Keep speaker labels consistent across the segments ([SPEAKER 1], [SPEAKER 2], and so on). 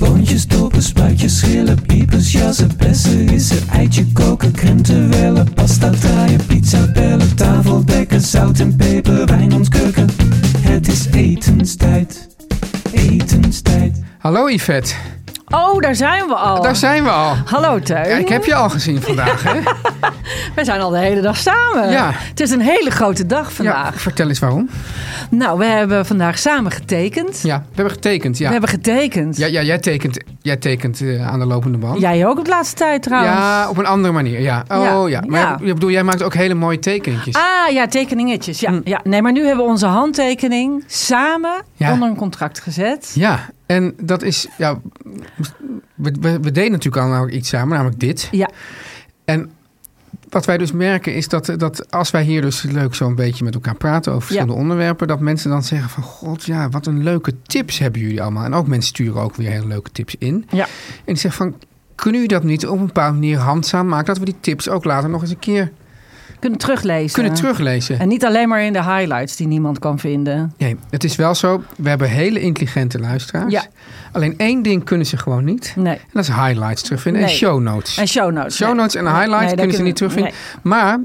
[SPEAKER 1] Boontjes, dopen, spuitjes, schillen, piepers, jassen, bessen, rissen, eitje koken, krenten wellen, pasta draaien, pizza bellen, tafel dekken, zout en peper, wijn ontkurken. Het is etenstijd, etenstijd.
[SPEAKER 2] Hallo Yvette,
[SPEAKER 3] Oh, daar zijn we al.
[SPEAKER 2] daar zijn we al.
[SPEAKER 3] Hallo Teun.
[SPEAKER 2] Ja, ik heb je al gezien vandaag, hè?
[SPEAKER 3] We zijn al de hele dag samen.
[SPEAKER 2] Ja.
[SPEAKER 3] Het is een hele grote dag
[SPEAKER 2] Ja,
[SPEAKER 3] vandaag.
[SPEAKER 2] vertel eens waarom.
[SPEAKER 3] Nou, we hebben vandaag samen getekend.
[SPEAKER 2] Ja, we hebben getekend, ja.
[SPEAKER 3] We hebben getekend.
[SPEAKER 2] ja, ja jij tekent, jij tekent eh, aan de lopende band.
[SPEAKER 3] Jij ook op de laatste tijd trouwens.
[SPEAKER 2] Ja, op een andere manier, ja. Oh ja,
[SPEAKER 3] Ja,
[SPEAKER 2] maar
[SPEAKER 3] ja.
[SPEAKER 2] je- je bedoel, jij maakt ook hele mooie tekeningetjes.
[SPEAKER 3] Ah ja, tekeningetjes.
[SPEAKER 2] Hm.
[SPEAKER 3] Ja, ja. Nee, maar nu hebben we onze handtekening samen
[SPEAKER 2] Ja.
[SPEAKER 3] onder een contract gezet.
[SPEAKER 2] Ja, en dat is, ja, we, we, we deden natuurlijk al namelijk iets samen, namelijk dit.
[SPEAKER 3] Ja.
[SPEAKER 2] En wat wij dus merken is dat, dat als wij hier dus leuk zo'n beetje met elkaar praten over verschillende onderwerpen, dat mensen dan zeggen van god ja, wat een leuke tips hebben jullie allemaal. En ook mensen sturen ook weer hele leuke tips in.
[SPEAKER 3] Ja.
[SPEAKER 2] En die zeggen van, kunnen jullie dat niet op een bepaalde manier handzaam maken, dat we die tips ook later nog eens een keer
[SPEAKER 3] Kunnen teruglezen.
[SPEAKER 2] kunnen teruglezen.
[SPEAKER 3] En niet alleen maar in de highlights die niemand kan vinden.
[SPEAKER 2] Nee, het is wel zo, we hebben hele intelligente luisteraars.
[SPEAKER 3] Ja.
[SPEAKER 2] Alleen één ding kunnen ze gewoon niet.
[SPEAKER 3] Nee.
[SPEAKER 2] En dat is highlights terugvinden en
[SPEAKER 3] Nee.
[SPEAKER 2] show notes.
[SPEAKER 3] En show notes.
[SPEAKER 2] Show
[SPEAKER 3] Nee.
[SPEAKER 2] notes en
[SPEAKER 3] Nee,
[SPEAKER 2] highlights
[SPEAKER 3] nee, daar
[SPEAKER 2] kunnen ze
[SPEAKER 3] kunnen-
[SPEAKER 2] niet terugvinden. Maar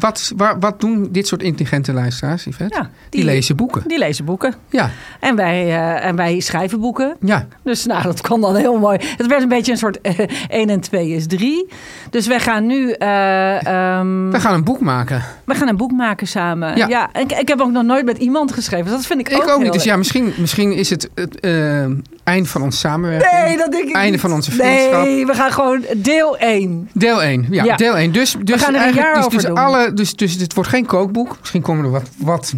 [SPEAKER 2] wat, waar- wat doen dit soort intelligente luisteraars, Yvette?
[SPEAKER 3] Ja,
[SPEAKER 2] die,
[SPEAKER 3] die-
[SPEAKER 2] lezen boeken.
[SPEAKER 3] Die lezen boeken.
[SPEAKER 2] Ja,
[SPEAKER 3] En wij, eh, en wij schrijven boeken.
[SPEAKER 2] ja.
[SPEAKER 3] Dus nou, dat kwam dan heel mooi. Het werd een beetje een soort eh, 1 en 2 is 3. Dus wij gaan nu... eh, ehm,
[SPEAKER 2] we gaan een boek maken.
[SPEAKER 3] we gaan een boek maken samen.
[SPEAKER 2] Ja.
[SPEAKER 3] Ja. en ik, ik heb ook nog nooit met iemand geschreven. Dus dat vind ik,
[SPEAKER 2] Ik ook,
[SPEAKER 3] heel
[SPEAKER 2] niet. Dus
[SPEAKER 3] leuk.
[SPEAKER 2] ja, misschien, misschien is het het eh, eind van onze samenwerking.
[SPEAKER 3] Nee, dat denk ik
[SPEAKER 2] Einde
[SPEAKER 3] niet.
[SPEAKER 2] van onze vriendschap.
[SPEAKER 3] Nee, we gaan gewoon deel 1.
[SPEAKER 2] Deel 1. Ja,
[SPEAKER 3] Ja.
[SPEAKER 2] deel 1. Dus, dus
[SPEAKER 3] gaan er een
[SPEAKER 2] eigenlijk-
[SPEAKER 3] jaar
[SPEAKER 2] dus,
[SPEAKER 3] over
[SPEAKER 2] dus
[SPEAKER 3] doen.
[SPEAKER 2] Alle, dus, dus het wordt geen kookboek. Misschien komen er wat, wat,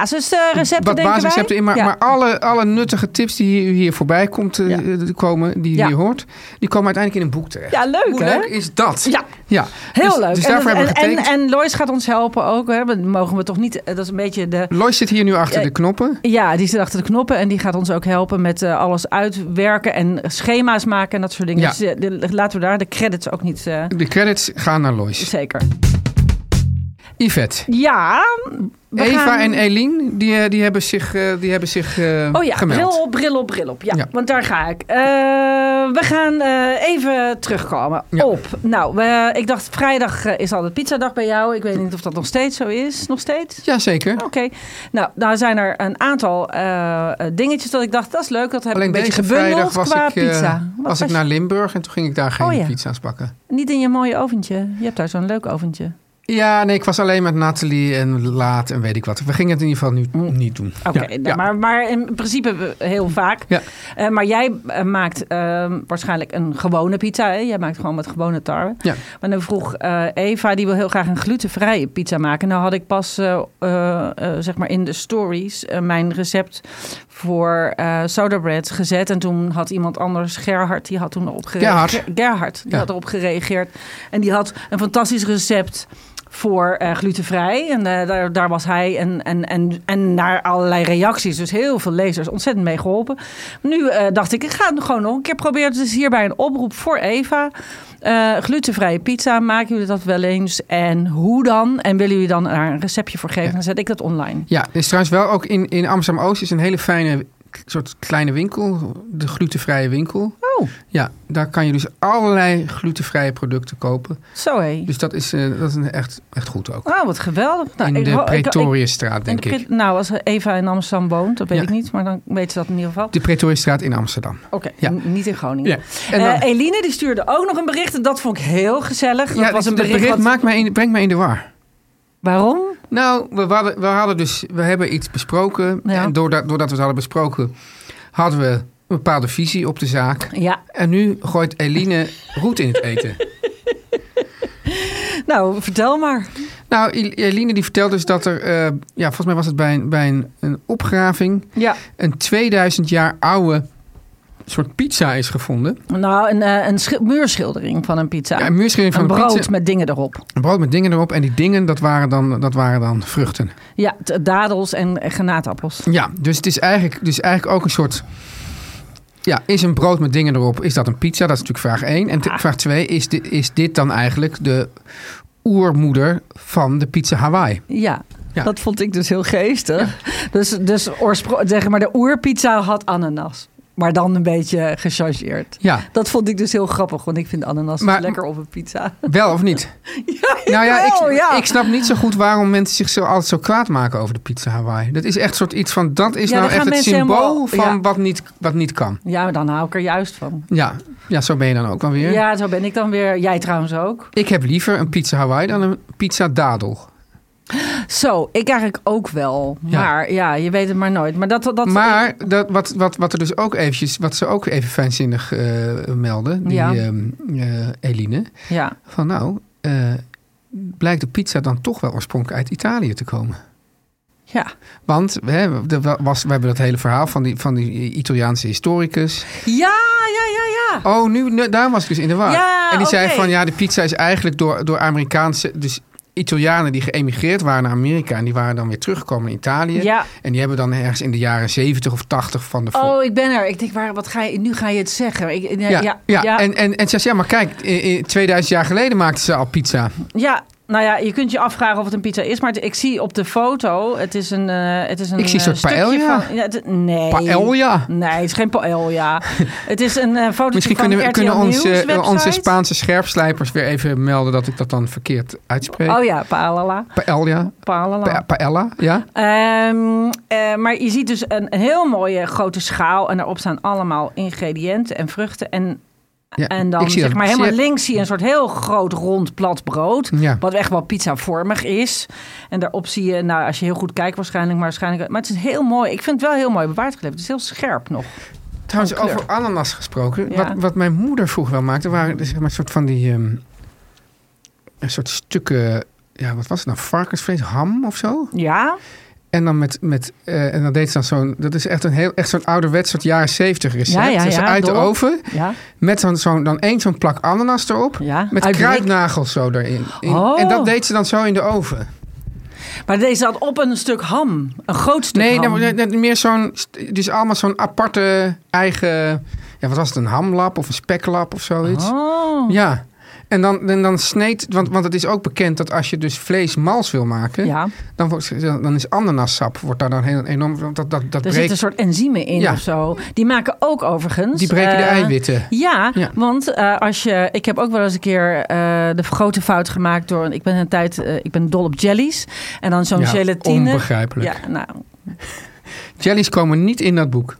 [SPEAKER 3] Basisrecepten,
[SPEAKER 2] wat
[SPEAKER 3] denken
[SPEAKER 2] basisrecepten
[SPEAKER 3] wij.
[SPEAKER 2] in. Maar,
[SPEAKER 3] Ja.
[SPEAKER 2] maar alle, alle nuttige tips die hier, hier voorbij komt, eh, eh, komen, die je
[SPEAKER 3] Ja.
[SPEAKER 2] hier hoort, die komen uiteindelijk in een boek terecht.
[SPEAKER 3] Ja, leuk,
[SPEAKER 2] Hoe
[SPEAKER 3] hè?
[SPEAKER 2] leuk is dat?
[SPEAKER 3] Ja.
[SPEAKER 2] ja.
[SPEAKER 3] Heel
[SPEAKER 2] Dus-
[SPEAKER 3] leuk.
[SPEAKER 2] Dus
[SPEAKER 3] En
[SPEAKER 2] daarvoor
[SPEAKER 3] dat-
[SPEAKER 2] hebben we
[SPEAKER 3] en, en,
[SPEAKER 2] getekend.
[SPEAKER 3] en Lois gaat ons helpen ook. Hè? Dat mogen we toch niet... eh, Dat is een beetje de...
[SPEAKER 2] Lois zit hier nu achter
[SPEAKER 3] Eh,
[SPEAKER 2] de knoppen.
[SPEAKER 3] Ja, die zit achter de knoppen en die gaat ons ook helpen met eh, alles uitwerken en schema's maken en dat soort dingen.
[SPEAKER 2] Ja.
[SPEAKER 3] Dus, eh, de- laten we daar de credits ook niet eh,
[SPEAKER 2] De credits gaan naar Lois.
[SPEAKER 3] zeker.
[SPEAKER 2] Yvette.
[SPEAKER 3] Ja, we
[SPEAKER 2] Eva
[SPEAKER 3] gaan-
[SPEAKER 2] en Eline, die, eh, die hebben zich, eh, die hebben zich eh,
[SPEAKER 3] Oh ja,
[SPEAKER 2] gemeld.
[SPEAKER 3] bril op, bril op, bril op. Ja,
[SPEAKER 2] Ja.
[SPEAKER 3] want daar ga ik. Eh, we gaan eh, even terugkomen
[SPEAKER 2] Ja.
[SPEAKER 3] op. Nou, we- ik dacht vrijdag eh, is altijd pizzadag bij jou. Ik weet niet of dat nog steeds zo is. Nog steeds?
[SPEAKER 2] Jazeker.
[SPEAKER 3] Oké. Nou, daar zijn er een aantal eh, eh, dingetjes dat ik dacht, dat is leuk. Dat heb ik
[SPEAKER 2] Alleen
[SPEAKER 3] een beetje
[SPEAKER 2] deze
[SPEAKER 3] gebundeld
[SPEAKER 2] vrijdag was
[SPEAKER 3] qua
[SPEAKER 2] ik, eh,
[SPEAKER 3] pizza. Wat
[SPEAKER 2] was ik
[SPEAKER 3] was
[SPEAKER 2] naar Limburg en toen ging ik daar geen
[SPEAKER 3] Oh ja.
[SPEAKER 2] pizza's bakken.
[SPEAKER 3] Niet in je mooie oventje. Je hebt daar zo'n leuk oventje.
[SPEAKER 2] Ja, nee, ik was alleen met Nathalie en Laat en weet ik wat. We gingen het in ieder geval nu niet doen.
[SPEAKER 3] Oké,
[SPEAKER 2] Ja,
[SPEAKER 3] nou,
[SPEAKER 2] ja.
[SPEAKER 3] maar, maar in principe we- heel vaak.
[SPEAKER 2] Ja.
[SPEAKER 3] Eh, maar jij eh, maakt eh, waarschijnlijk een gewone pizza. Hè? Jij maakt gewoon met gewone tarwe.
[SPEAKER 2] Ja.
[SPEAKER 3] Maar dan vroeg eh, Eva, die wil heel graag een glutenvrije pizza maken. Nou had ik pas eh, eh, eh, zeg maar in de stories eh, mijn recept voor eh soda bread gezet. En toen had iemand anders, Gerhard, die had toen erop
[SPEAKER 2] Gerhard.
[SPEAKER 3] gereageerd. Gerhard, die
[SPEAKER 2] Ja.
[SPEAKER 3] had erop gereageerd. En die had een fantastisch recept voor eh, glutenvrij. En eh, daar, daar was hij en, en, en, en naar allerlei reacties. Dus heel veel lezers ontzettend mee geholpen. Nu eh, dacht ik, ik ga het gewoon nog een keer proberen. Dus hierbij een oproep voor Eva. Eh, glutenvrije pizza, maken jullie dat wel eens? En hoe dan? En willen jullie dan daar een receptje voor geven? Dan zet ik dat online.
[SPEAKER 2] Ja, er is trouwens wel ook in, in Amsterdam-Oost is een hele fijne k- soort kleine winkel. De glutenvrije winkel.
[SPEAKER 3] Oh, Oh,
[SPEAKER 2] Ja, daar kan je dus allerlei glutenvrije producten kopen.
[SPEAKER 3] zo hé.
[SPEAKER 2] Dus dat is, eh, dat is een echt, echt goed ook.
[SPEAKER 3] Ah, wat geweldig. Nou,
[SPEAKER 2] in
[SPEAKER 3] ik
[SPEAKER 2] de
[SPEAKER 3] ho- ik- ik-
[SPEAKER 2] Pretoriusstraat, denk
[SPEAKER 3] in de
[SPEAKER 2] ik.
[SPEAKER 3] Pre- Nou, als Eva in Amsterdam woont, dat weet
[SPEAKER 2] Ja.
[SPEAKER 3] ik niet, maar dan weet ze dat in ieder geval.
[SPEAKER 2] De Pretoriusstraat in Amsterdam.
[SPEAKER 3] Oké,
[SPEAKER 2] Ja.
[SPEAKER 3] n- niet in Groningen.
[SPEAKER 2] En dan-
[SPEAKER 3] Eh, Eline die stuurde ook nog een bericht en dat vond ik heel gezellig. Dat
[SPEAKER 2] ja,
[SPEAKER 3] was een
[SPEAKER 2] dat
[SPEAKER 3] bericht. wat-
[SPEAKER 2] maakt mij in, brengt mij in de war.
[SPEAKER 3] Waarom?
[SPEAKER 2] Nou, we hadden, we hadden dus, we hebben iets besproken.
[SPEAKER 3] Ja.
[SPEAKER 2] En doordat, doordat we het hadden besproken, hadden we een bepaalde visie op de zaak.
[SPEAKER 3] Ja,
[SPEAKER 2] En nu gooit Eline roet in het eten.
[SPEAKER 3] nou vertel maar.
[SPEAKER 2] nou, I- Eline die vertelt dus dat er, eh, ja, volgens mij was het bij, een, bij een, een opgraving,
[SPEAKER 3] Ja.
[SPEAKER 2] een 2000 jaar oude soort pizza is gevonden.
[SPEAKER 3] Nou, een, eh, een schi- muurschildering van een pizza.
[SPEAKER 2] Ja, een muurschildering van
[SPEAKER 3] een
[SPEAKER 2] een
[SPEAKER 3] brood
[SPEAKER 2] pizza.
[SPEAKER 3] met dingen erop.
[SPEAKER 2] Een brood met dingen erop en die dingen, dat waren dan, dat waren dan vruchten.
[SPEAKER 3] Ja, t- dadels en eh, granaatappels.
[SPEAKER 2] Ja, dus het is eigenlijk, dus eigenlijk ook een soort. Ja, is een brood met dingen erop, is dat een pizza? Dat is natuurlijk vraag 1. En t- vraag 2, is dit, is dit dan eigenlijk de oermoeder van de pizza Hawaii?
[SPEAKER 3] Ja.
[SPEAKER 2] Ja.
[SPEAKER 3] Dat vond ik dus heel geestig. Dus, dus oorspro- zeg maar, de oerpizza had ananas. Maar dan een beetje gechargeerd.
[SPEAKER 2] Ja,
[SPEAKER 3] Dat vond ik dus heel grappig, want ik vind ananas
[SPEAKER 2] Maar-
[SPEAKER 3] lekker op een pizza.
[SPEAKER 2] wel of niet? nou ja ik, ik snap niet zo goed waarom mensen zich zo altijd zo kwaad maken over de pizza Hawaii. Dat is echt soort iets van, dat is
[SPEAKER 3] Ja,
[SPEAKER 2] nou
[SPEAKER 3] daar
[SPEAKER 2] echt
[SPEAKER 3] gaan
[SPEAKER 2] het
[SPEAKER 3] mensen
[SPEAKER 2] symbool
[SPEAKER 3] helemaal-
[SPEAKER 2] van
[SPEAKER 3] ja.
[SPEAKER 2] wat, niet, wat niet kan.
[SPEAKER 3] Ja, maar dan hou ik er juist van.
[SPEAKER 2] Ja. ja, zo ben je dan ook wel weer.
[SPEAKER 3] Ja, zo ben ik dan weer. Jij trouwens ook.
[SPEAKER 2] Ik heb liever een pizza Hawaii dan een pizza dadel.
[SPEAKER 3] Zo, ik eigenlijk ook wel.
[SPEAKER 2] Ja.
[SPEAKER 3] Maar ja, je weet het maar nooit. Maar dat... dat
[SPEAKER 2] Maar dat, wat, wat, wat er dus ook eventjes, wat ze ook even fijnzinnig eh, melden, die
[SPEAKER 3] Ja.
[SPEAKER 2] ehm, eh, Eline,
[SPEAKER 3] Ja.
[SPEAKER 2] van nou, eh, blijkt de pizza dan toch wel oorspronkelijk uit Italië te komen.
[SPEAKER 3] Ja.
[SPEAKER 2] Want we hebben, er wa- was, we hebben dat hele verhaal van die, van die Italiaanse historicus.
[SPEAKER 3] Ja, ja, ja, ja.
[SPEAKER 2] Oh, nu, nu- daar was ik dus in de war.
[SPEAKER 3] Ja,
[SPEAKER 2] en die zei
[SPEAKER 3] oké.
[SPEAKER 2] van ja, de pizza is eigenlijk door, door Amerikaanse, dus Italianen die geëmigreerd waren naar Amerika en die waren dan weer teruggekomen in Italië.
[SPEAKER 3] Ja.
[SPEAKER 2] En die hebben dan ergens in de jaren 70 of 80 van de
[SPEAKER 3] Oh, ik ben er. Ik denk, waar, wat ga je, nu ga je het zeggen. Ik, nee,
[SPEAKER 2] Ja, ja,
[SPEAKER 3] ja,
[SPEAKER 2] En, en, en ze zegt, ja, maar kijk, i- i- 2000 jaar geleden maakten ze al pizza.
[SPEAKER 3] ja. nou ja, je kunt je afvragen of het een pizza is. Maar het- ik zie op de foto, het is een, eh, het is een
[SPEAKER 2] Ik zie een
[SPEAKER 3] eh,
[SPEAKER 2] soort
[SPEAKER 3] stukje
[SPEAKER 2] paella.
[SPEAKER 3] Van, ja, het- nee.
[SPEAKER 2] Paella.
[SPEAKER 3] Nee, het is geen paella. het is een eh foto
[SPEAKER 2] Misschien
[SPEAKER 3] van
[SPEAKER 2] kunnen, we,
[SPEAKER 3] RTL
[SPEAKER 2] kunnen
[SPEAKER 3] Nieuws
[SPEAKER 2] onze, eh, onze
[SPEAKER 3] website.
[SPEAKER 2] Spaanse scherpslijpers weer even melden dat ik dat dan verkeerd uitspreek.
[SPEAKER 3] Oh ja, Oh. paella.
[SPEAKER 2] Paella,
[SPEAKER 3] paella.
[SPEAKER 2] pa- paella, ja.
[SPEAKER 3] Ehm, eh, maar je ziet dus een heel mooie grote schaal. En daarop staan allemaal ingrediënten en vruchten. En,
[SPEAKER 2] ja.
[SPEAKER 3] en dan zeg
[SPEAKER 2] dat
[SPEAKER 3] maar helemaal
[SPEAKER 2] zeer-
[SPEAKER 3] links zie je een soort heel groot rond plat brood.
[SPEAKER 2] Ja.
[SPEAKER 3] Wat echt wel pizzavormig is. En daarop zie je, nou als je heel goed kijkt waarschijnlijk. Maar, waarschijnlijk, maar het is heel mooi. Ik vind het wel heel mooi bewaard gebleven. Het is heel scherp nog.
[SPEAKER 2] Trouwens,
[SPEAKER 3] van kleur.
[SPEAKER 2] over ananas gesproken.
[SPEAKER 3] Ja.
[SPEAKER 2] Wat, wat mijn moeder vroeger wel maakte, waren dus, zeg maar, een soort van die... ehm, een soort stukken... Ja, wat was het nou? Varkensvlees, ham of zo?
[SPEAKER 3] Ja,
[SPEAKER 2] En dan met, met eh, en dan deed ze dan zo'n, dat is echt een heel, echt zo'n ouderwets soort jaren zeventig recept.
[SPEAKER 3] Ja, ja,
[SPEAKER 2] Dus
[SPEAKER 3] ja,
[SPEAKER 2] uit de
[SPEAKER 3] dol.
[SPEAKER 2] oven,
[SPEAKER 3] ja,
[SPEAKER 2] met zo'n, zo'n, dan één zo'n plak ananas erop,
[SPEAKER 3] ja.
[SPEAKER 2] met
[SPEAKER 3] Uit blik.
[SPEAKER 2] kruidnagels zo erin. In-
[SPEAKER 3] Oh.
[SPEAKER 2] En dat deed ze dan zo in de oven.
[SPEAKER 3] Maar deze had op een stuk ham. Een groot stuk
[SPEAKER 2] Nee,
[SPEAKER 3] ham.
[SPEAKER 2] nou, nee, nee, meer zo'n, st- dus allemaal zo'n aparte eigen, ja, wat was het, een hamlap of een speklap of zoiets.
[SPEAKER 3] Oh.
[SPEAKER 2] Ja. En dan, en dan sneed, want, want het is ook bekend dat als je dus vlees mals wil maken,
[SPEAKER 3] Ja,
[SPEAKER 2] dan, wordt, dan is ananassap, wordt daar dan heel enorm, want dat, dat, dat
[SPEAKER 3] er
[SPEAKER 2] breekt,
[SPEAKER 3] zitten een soort enzymen in
[SPEAKER 2] Ja.
[SPEAKER 3] of zo. Die maken ook overigens...
[SPEAKER 2] die breken de
[SPEAKER 3] eh,
[SPEAKER 2] eiwitten.
[SPEAKER 3] Ja,
[SPEAKER 2] Ja.
[SPEAKER 3] want eh, als je, ik heb ook wel eens een keer eh, de grote fout gemaakt door. Ik ben een tijd, eh, ik ben dol op jellies en dan zo'n
[SPEAKER 2] Ja,
[SPEAKER 3] gelatine.
[SPEAKER 2] Onbegrijpelijk.
[SPEAKER 3] Ja, nou, dus-
[SPEAKER 2] Jellies komen niet in dat boek.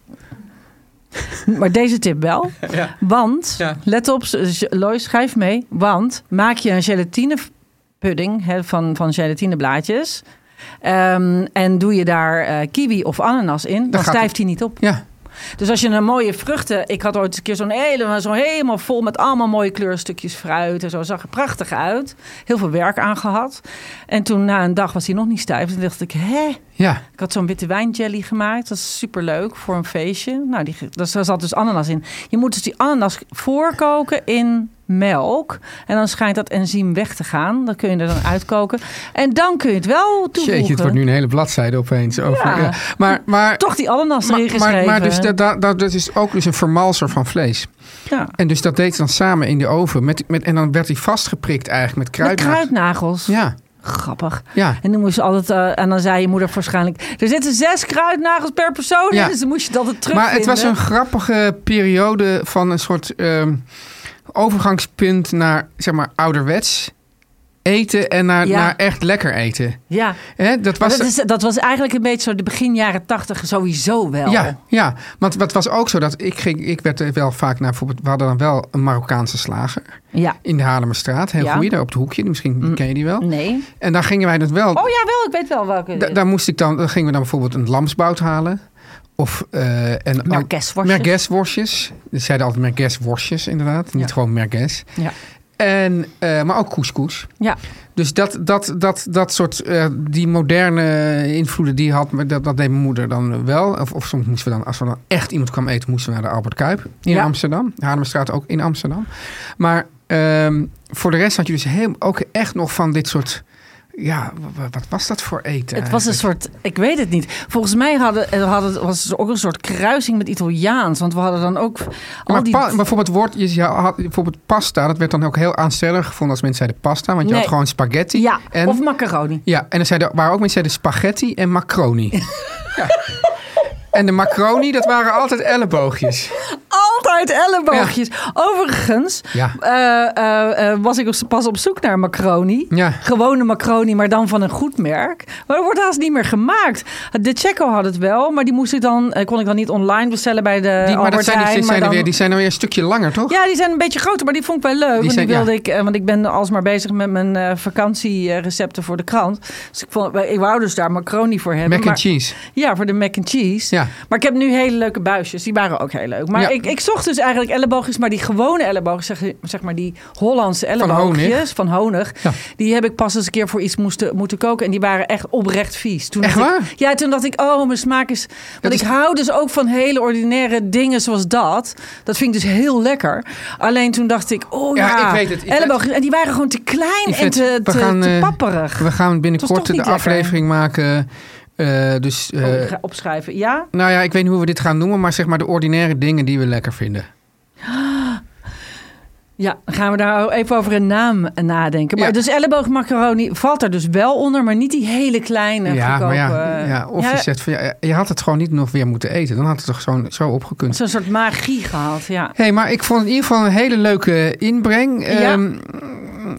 [SPEAKER 3] maar deze tip wel. Want, let op, z- Lois, schrijf mee. Want maak je een gelatinepudding hè, van, van gelatineblaadjes. ehm, en doe je daar eh, kiwi of ananas in, dan
[SPEAKER 2] gaat-
[SPEAKER 3] stijft hij niet op.
[SPEAKER 2] Ja,
[SPEAKER 3] Dus als je een mooie vruchten... Ik had ooit eens een keer zo'n helemaal, zo helemaal vol met allemaal mooie kleurstukjes fruit. En zo zag er prachtig uit. Heel veel werk aan gehad. En toen na een dag was hij nog niet stijf. Toen dacht ik, hè?
[SPEAKER 2] ja.
[SPEAKER 3] Ik had zo'n witte wijnjelly gemaakt. Dat is superleuk voor een feestje. Nou, die, ge- daar zat dus ananas in. Je moet dus die ananas voorkoken in melk. En dan schijnt dat enzym weg te gaan. Dat kun je er dan uitkoken. En dan kun je het wel toevoegen.
[SPEAKER 2] Jeetje, het wordt nu een hele bladzijde opeens. Over,
[SPEAKER 3] Ja.
[SPEAKER 2] ja. Maar, maar,
[SPEAKER 3] Toch die ananas erin
[SPEAKER 2] maar, maar,
[SPEAKER 3] geschreven.
[SPEAKER 2] maar dus dat, dat, dat dat is ook dus een vermalser van vlees.
[SPEAKER 3] Ja.
[SPEAKER 2] En dus dat deed ze dan samen in de oven. Met, met, en dan werd hij vastgeprikt eigenlijk met
[SPEAKER 3] Met
[SPEAKER 2] kruidnaad.
[SPEAKER 3] kruidnagels.
[SPEAKER 2] Ja,
[SPEAKER 3] Grappig.
[SPEAKER 2] Ja.
[SPEAKER 3] En dan moest je altijd, eh, en dan zei je moeder waarschijnlijk, er zitten zes kruidnagels per persoon
[SPEAKER 2] Ja.
[SPEAKER 3] in, dus dan moest je dat altijd terugvinden.
[SPEAKER 2] Maar het was een grappige periode van een soort ehm, overgangspunt naar zeg maar ouderwets eten en naar,
[SPEAKER 3] Ja.
[SPEAKER 2] naar echt lekker eten.
[SPEAKER 3] Ja,
[SPEAKER 2] Hè, dat
[SPEAKER 3] maar
[SPEAKER 2] was
[SPEAKER 3] dat, is, dat was eigenlijk een beetje zo de begin jaren tachtig sowieso wel.
[SPEAKER 2] Ja, ja, want het was ook zo dat ik ging, ik werd er wel vaak naar, bijvoorbeeld, we hadden dan wel een Marokkaanse slager
[SPEAKER 3] Ja.
[SPEAKER 2] in de Haarlemmerstraat, heel
[SPEAKER 3] Ja. Mm.
[SPEAKER 2] goeie, daar op het hoekje, misschien ken je die wel.
[SPEAKER 3] Nee.
[SPEAKER 2] En daar gingen wij dat wel,
[SPEAKER 3] Oh ja, wel, ik weet wel welke.
[SPEAKER 2] da- daar moest ik dan, dan gingen we dan bijvoorbeeld een lamsbout halen. Of, eh en
[SPEAKER 3] Merguezworstjes.
[SPEAKER 2] Merguezworstjes. Ze zeiden altijd merguezworstjes, inderdaad. Niet
[SPEAKER 3] Ja.
[SPEAKER 2] gewoon merguez.
[SPEAKER 3] ja.
[SPEAKER 2] En, eh, maar ook couscous.
[SPEAKER 3] ja.
[SPEAKER 2] Dus dat, dat, dat, dat soort, eh, die moderne invloeden die had, maar dat, dat deed mijn moeder dan wel. Of, of soms moesten we dan, als we dan echt iemand kwam eten, moesten we naar de Albert Kuip in
[SPEAKER 3] Ja.
[SPEAKER 2] Amsterdam. Haarlemmerstraat ook in Amsterdam. Maar ehm, voor de rest had je dus heel, ook echt nog van dit soort, ja, wa- wa- wat was dat voor eten?
[SPEAKER 3] Het was een
[SPEAKER 2] eigenlijk?
[SPEAKER 3] soort, ik weet het niet. Volgens mij hadden, eh, hadden, was het ook een soort kruising met Italiaans. Want we hadden dan ook al
[SPEAKER 2] Maar
[SPEAKER 3] die...
[SPEAKER 2] pa- bijvoorbeeld, woord, je je had, bijvoorbeeld pasta, dat werd dan ook heel aanstellerig gevonden als mensen zeiden pasta. Want je
[SPEAKER 3] Nee.
[SPEAKER 2] had gewoon spaghetti.
[SPEAKER 3] ja,
[SPEAKER 2] en,
[SPEAKER 3] of macaroni.
[SPEAKER 2] Ja, en er zeiden, waren ook mensen die zeiden spaghetti en macaroni. ja. En de macaroni, dat waren altijd
[SPEAKER 3] Eh,
[SPEAKER 2] elleboogjes.
[SPEAKER 3] Altijd elleboogjes. Overigens
[SPEAKER 2] Ja.
[SPEAKER 3] eh, eh, eh, was ik dus pas op zoek naar macaroni.
[SPEAKER 2] Ja.
[SPEAKER 3] Gewone macaroni, maar dan van een goed merk. Maar dat wordt haast niet meer gemaakt. De Checo had het wel, maar die moest ik dan, eh, kon ik dan niet online bestellen bij de
[SPEAKER 2] Die, maar dat
[SPEAKER 3] Albert
[SPEAKER 2] zijn, die,
[SPEAKER 3] Heijn,
[SPEAKER 2] zijn er
[SPEAKER 3] dan-
[SPEAKER 2] weer, die zijn er weer een stukje langer, toch?
[SPEAKER 3] Ja, die zijn een beetje groter, maar die vond ik wel leuk. want,
[SPEAKER 2] zijn-
[SPEAKER 3] die wilde
[SPEAKER 2] ja.
[SPEAKER 3] ik, eh, want ik ben alsmaar bezig met mijn eh, vakantierecepten voor de krant. Dus ik, vond, ik wou dus daar macaroni voor hebben.
[SPEAKER 2] Mac and
[SPEAKER 3] maar-
[SPEAKER 2] cheese.
[SPEAKER 3] Ja, voor de mac and cheese.
[SPEAKER 2] Ja.
[SPEAKER 3] Maar ik heb nu hele leuke buisjes. Die waren ook heel leuk. Maar
[SPEAKER 2] Ja.
[SPEAKER 3] ik, ik zocht dus eigenlijk elleboogjes. Maar die gewone elleboogjes, zeg, zeg maar die Hollandse elleboogjes van honig.
[SPEAKER 2] Ja.
[SPEAKER 3] Die heb ik pas eens een keer voor iets moesten, moeten koken. En die waren echt oprecht vies. Toen
[SPEAKER 2] Echt
[SPEAKER 3] dacht ik-
[SPEAKER 2] waar?
[SPEAKER 3] ja, toen dacht ik, oh, mijn smaak is... Want
[SPEAKER 2] is-
[SPEAKER 3] ik hou dus ook van hele ordinaire dingen zoals dat. Dat vind ik dus heel lekker. Alleen toen dacht ik, oh
[SPEAKER 2] Ja,
[SPEAKER 3] ja,
[SPEAKER 2] ik weet het, Yvette.
[SPEAKER 3] elleboogjes. En die waren gewoon te klein en
[SPEAKER 2] Yvette,
[SPEAKER 3] te,
[SPEAKER 2] we
[SPEAKER 3] te,
[SPEAKER 2] gaan,
[SPEAKER 3] te
[SPEAKER 2] eh,
[SPEAKER 3] papperig.
[SPEAKER 2] We gaan binnenkort
[SPEAKER 3] toch
[SPEAKER 2] de
[SPEAKER 3] niet lekker.
[SPEAKER 2] aflevering maken. eh, dus, eh,
[SPEAKER 3] Oh, ik ga opschrijven, ja?
[SPEAKER 2] nou ja, ik weet niet hoe we dit gaan noemen, maar zeg maar de ordinaire dingen die we lekker vinden.
[SPEAKER 3] Ja, dan gaan we daar even over een naam nadenken. Maar
[SPEAKER 2] Ja.
[SPEAKER 3] dus elleboogmacaroni valt er dus wel onder, maar niet die hele kleine
[SPEAKER 2] ja,
[SPEAKER 3] goedkope. eh,
[SPEAKER 2] maar ja, ja, of
[SPEAKER 3] Ja,
[SPEAKER 2] je zegt van ja, je had het gewoon niet nog weer moeten eten. Dan had het toch zo, zo opgekund.
[SPEAKER 3] Zo'n soort magie gehad, ja.
[SPEAKER 2] Hé, hey, maar ik vond in ieder geval een hele leuke inbreng.
[SPEAKER 3] Ja.
[SPEAKER 2] Ehm,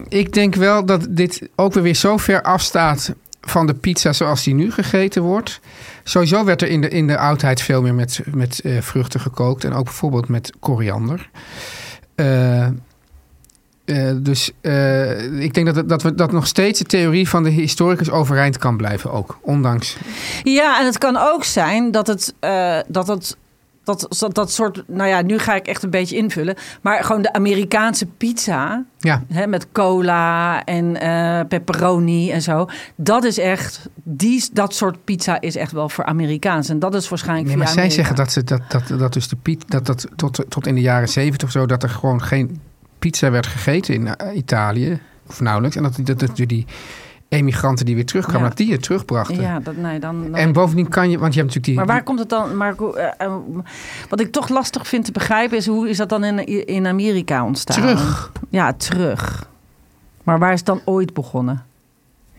[SPEAKER 2] ik denk wel dat dit ook weer weer zo ver afstaat van de pizza zoals die nu gegeten wordt. Sowieso werd er in de, in de oudheid veel meer met, met eh, vruchten gekookt. En ook bijvoorbeeld met koriander. Eh, eh, dus eh, ik denk dat, het- dat, we, dat nog steeds de theorie van de historicus overeind kan blijven ook. Ondanks.
[SPEAKER 3] Ja, en het kan ook zijn dat het, eh, dat het dat, dat, dat soort, nou ja, nu ga ik echt een beetje invullen, maar gewoon de Amerikaanse pizza,
[SPEAKER 2] Ja,
[SPEAKER 3] hè, met cola en eh pepperoni en zo, dat is echt, die, dat soort pizza is echt wel voor Amerikaans. En dat is waarschijnlijk
[SPEAKER 2] Nee,
[SPEAKER 3] via
[SPEAKER 2] maar zij
[SPEAKER 3] Amerika.
[SPEAKER 2] zeggen dat, ze, dat, dat, dat dus de Piet, dat, dat tot, tot in de jaren zeventig zo, dat er gewoon geen pizza werd gegeten in eh, Italië, of nauwelijks. En dat, dat, dat die emigranten die weer terugkwamen,
[SPEAKER 3] Ja.
[SPEAKER 2] dat die het terugbrachten.
[SPEAKER 3] Ja, dat, nee, dan, dan
[SPEAKER 2] En bovendien kan je, want je hebt natuurlijk die...
[SPEAKER 3] Maar waar komt het dan? Maar, hoe- eh, eh, wat ik toch lastig vind te begrijpen is hoe is dat dan in, in Amerika ontstaan?
[SPEAKER 2] Terug.
[SPEAKER 3] Ja, terug. Maar waar is het dan ooit begonnen?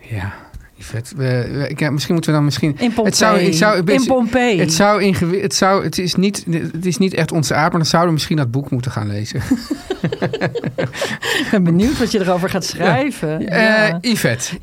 [SPEAKER 2] Ja, Yvette, we- we- ik- ja, misschien moeten we dan misschien...
[SPEAKER 3] In Pompeii.
[SPEAKER 2] Het zou, het zou, het
[SPEAKER 3] in Pompeii.
[SPEAKER 2] Het, zou ingewi- het, zou, het, is niet, het is niet echt onze aard, maar dan zouden we misschien dat boek moeten gaan lezen.
[SPEAKER 3] Ik ben benieuwd wat je erover gaat schrijven. Ja,
[SPEAKER 2] Eh
[SPEAKER 3] ja.
[SPEAKER 2] Yvette,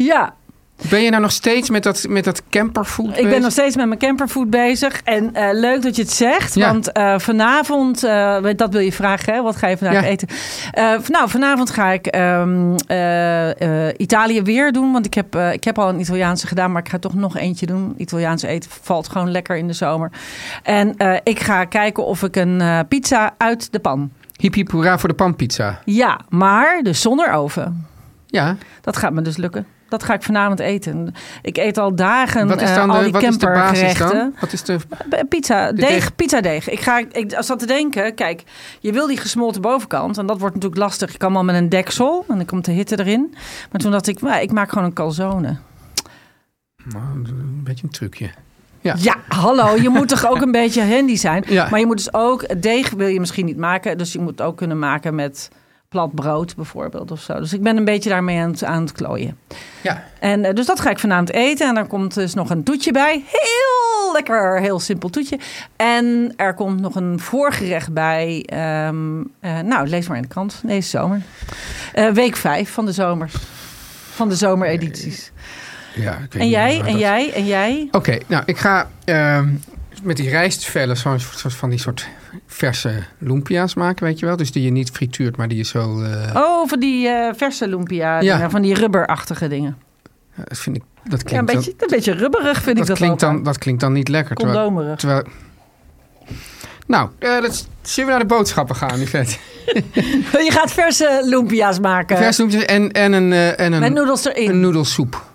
[SPEAKER 2] ben je nou nog steeds met dat, met dat camperfood
[SPEAKER 3] ik ben
[SPEAKER 2] bezig?
[SPEAKER 3] nog steeds met mijn camperfood bezig. En eh, leuk dat je het zegt,
[SPEAKER 2] Ja.
[SPEAKER 3] want eh, vanavond, eh, want dat wil je vragen, hè? wat ga je vandaag
[SPEAKER 2] Ja.
[SPEAKER 3] eten? Eh, v- nou, vanavond ga ik ehm, eh, eh, Italië weer doen. Want ik heb, eh, ik heb al een Italiaanse gedaan, maar ik ga toch nog eentje doen. Italiaans eten valt gewoon lekker in de zomer. En eh, ik ga kijken of ik een eh, pizza uit de pan.
[SPEAKER 2] Hip hip hoera voor de panpizza.
[SPEAKER 3] Ja, maar dus zonder oven.
[SPEAKER 2] Ja,
[SPEAKER 3] Dat gaat me dus lukken. Dat ga ik vanavond eten. Ik eet al dagen
[SPEAKER 2] wat is
[SPEAKER 3] eh,
[SPEAKER 2] dan
[SPEAKER 3] al
[SPEAKER 2] de,
[SPEAKER 3] die
[SPEAKER 2] wat is de basis
[SPEAKER 3] campergerechten.
[SPEAKER 2] dan? Wat is de,
[SPEAKER 3] B- Pizza, deeg,
[SPEAKER 2] deeg.
[SPEAKER 3] pizza deeg. Ik, ga, ik zat te denken, kijk, je wil die gesmolten bovenkant. En dat wordt natuurlijk lastig. Je kan wel met een deksel en dan komt de hitte erin. Maar toen dacht ik, maar ik maak gewoon een calzone.
[SPEAKER 2] een beetje een trucje.
[SPEAKER 3] Ja, hallo, je moet toch ook een beetje handy zijn.
[SPEAKER 2] Ja.
[SPEAKER 3] Maar je moet dus ook, deeg wil je misschien niet maken. Dus je moet het ook kunnen maken met plat brood bijvoorbeeld of zo. Dus ik ben een beetje daarmee aan het, aan het klooien.
[SPEAKER 2] Ja.
[SPEAKER 3] En eh, dus dat ga ik vanavond eten. En er komt dus nog een toetje bij. Heel lekker, heel simpel toetje. En er komt nog een voorgerecht bij. ehm, eh, nou, lees maar in de krant. Deze zomer. Eh, week vijf van de zomers. Van de zomeredities.
[SPEAKER 2] ja ik weet
[SPEAKER 3] En
[SPEAKER 2] niet
[SPEAKER 3] jij,
[SPEAKER 2] waar
[SPEAKER 3] en
[SPEAKER 2] dat-
[SPEAKER 3] jij, en jij.
[SPEAKER 2] Oké, nou, ik ga ehm, met die rijstvellen zo'n soort soort van die soort verse lumpia's maken, weet je wel. Dus die je niet frituurt, maar die je zo... eh,
[SPEAKER 3] Oh, van die eh, verse lumpia.
[SPEAKER 2] Ja.
[SPEAKER 3] dingen, Van die rubberachtige dingen.
[SPEAKER 2] Dat vind ik... Dat klinkt
[SPEAKER 3] Ja, een beetje, een beetje rubberig vind
[SPEAKER 2] dan,
[SPEAKER 3] ik
[SPEAKER 2] dat,
[SPEAKER 3] dat
[SPEAKER 2] klinkt
[SPEAKER 3] wel.
[SPEAKER 2] dan, dat klinkt dan niet lekker. Terwijl,
[SPEAKER 3] Condomerig.
[SPEAKER 2] terwijl... Nou, eh, dat, zullen we naar de boodschappen gaan, Yvette?
[SPEAKER 3] Je gaat verse lumpia's maken.
[SPEAKER 2] Verse lumpia's en, en een, eh, en
[SPEAKER 3] Met
[SPEAKER 2] een,
[SPEAKER 3] noedels erin.
[SPEAKER 2] een noedelsoep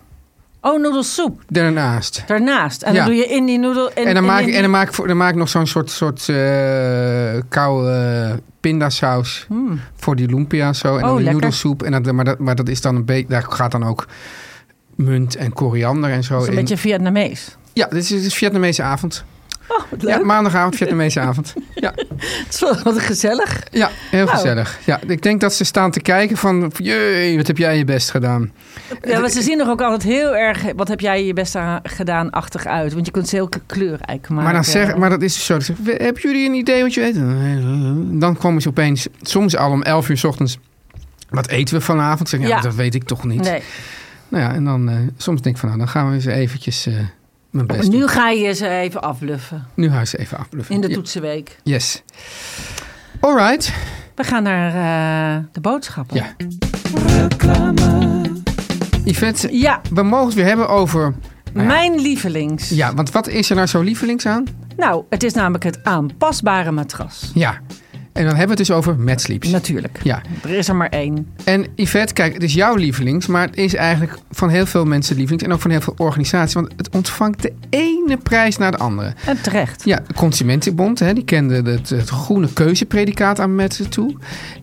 [SPEAKER 3] Oh, noedelsoep.
[SPEAKER 2] daarnaast.
[SPEAKER 3] Daarnaast. En
[SPEAKER 2] Ja.
[SPEAKER 3] dan doe je in die noedel... In,
[SPEAKER 2] En dan,
[SPEAKER 3] in
[SPEAKER 2] maak,
[SPEAKER 3] die-
[SPEAKER 2] en dan, maak, ik voor, dan maak ik nog zo'n soort, soort eh, koude eh, pindasaus
[SPEAKER 3] Hmm.
[SPEAKER 2] voor die lumpia zo. En
[SPEAKER 3] Oh,
[SPEAKER 2] dan die
[SPEAKER 3] lekker.
[SPEAKER 2] noedelsoep. En dat, maar, dat, maar dat is dan een beetje... Daar gaat dan ook munt en koriander en zo
[SPEAKER 3] Dat is een
[SPEAKER 2] in.
[SPEAKER 3] beetje Vietnamees.
[SPEAKER 2] Ja, dit is, dit is Vietnamese avond.
[SPEAKER 3] Oh, wat
[SPEAKER 2] Ja,
[SPEAKER 3] leuk.
[SPEAKER 2] maandagavond, Vietnamese avond.
[SPEAKER 3] Het is wel- wat gezellig.
[SPEAKER 2] Ja, heel
[SPEAKER 3] Nou.
[SPEAKER 2] gezellig. Ja, ik denk dat ze staan te kijken van... Jee, wat heb jij je best gedaan.
[SPEAKER 3] Ja, maar ze zien er ook altijd heel erg... Wat heb jij je best aan gedaan-achtig uit. Want je kunt ze heel k- kleurrijk maken.
[SPEAKER 2] Maar, dan
[SPEAKER 3] eh,
[SPEAKER 2] zeg, maar dat is dus zo. Dan zeg ik, "We- hebben jullie een idee wat je eet? Dan komen ze opeens, soms al om 11 uur 's ochtends. Wat eten we vanavond? Zeg, ik, ja,
[SPEAKER 3] Ja.
[SPEAKER 2] dat weet ik toch niet.
[SPEAKER 3] Nee.
[SPEAKER 2] Nou ja, en dan eh, soms denk ik van, nou, dan gaan we eens eventjes eh, mijn best
[SPEAKER 3] Nu
[SPEAKER 2] doen.
[SPEAKER 3] ga je ze even afbluffen.
[SPEAKER 2] Nu huis even afbluffen.
[SPEAKER 3] In de
[SPEAKER 2] Ja,
[SPEAKER 3] toetsenweek.
[SPEAKER 2] Yes. All right.
[SPEAKER 3] We gaan naar eh, de boodschappen.
[SPEAKER 2] Ja. Yvette,
[SPEAKER 3] Ja,
[SPEAKER 2] we mogen het weer hebben over... Nou ja.
[SPEAKER 3] mijn lievelings.
[SPEAKER 2] Ja, want wat is er nou zo lievelings aan?
[SPEAKER 3] Nou, het is namelijk het aanpasbare matras.
[SPEAKER 2] Ja. En dan hebben we het dus over Mad Sleeps.
[SPEAKER 3] Natuurlijk.
[SPEAKER 2] Ja.
[SPEAKER 3] Er is er maar één.
[SPEAKER 2] En Yvette, kijk, het is jouw lievelings, maar het is eigenlijk van heel veel mensen lievelings en ook van heel veel organisaties, want het ontvangt de ene prijs naar de andere.
[SPEAKER 3] En terecht.
[SPEAKER 2] Ja, de Consumentenbond, hè, die kende het, het groene keuzepredicaat aan mensen toe.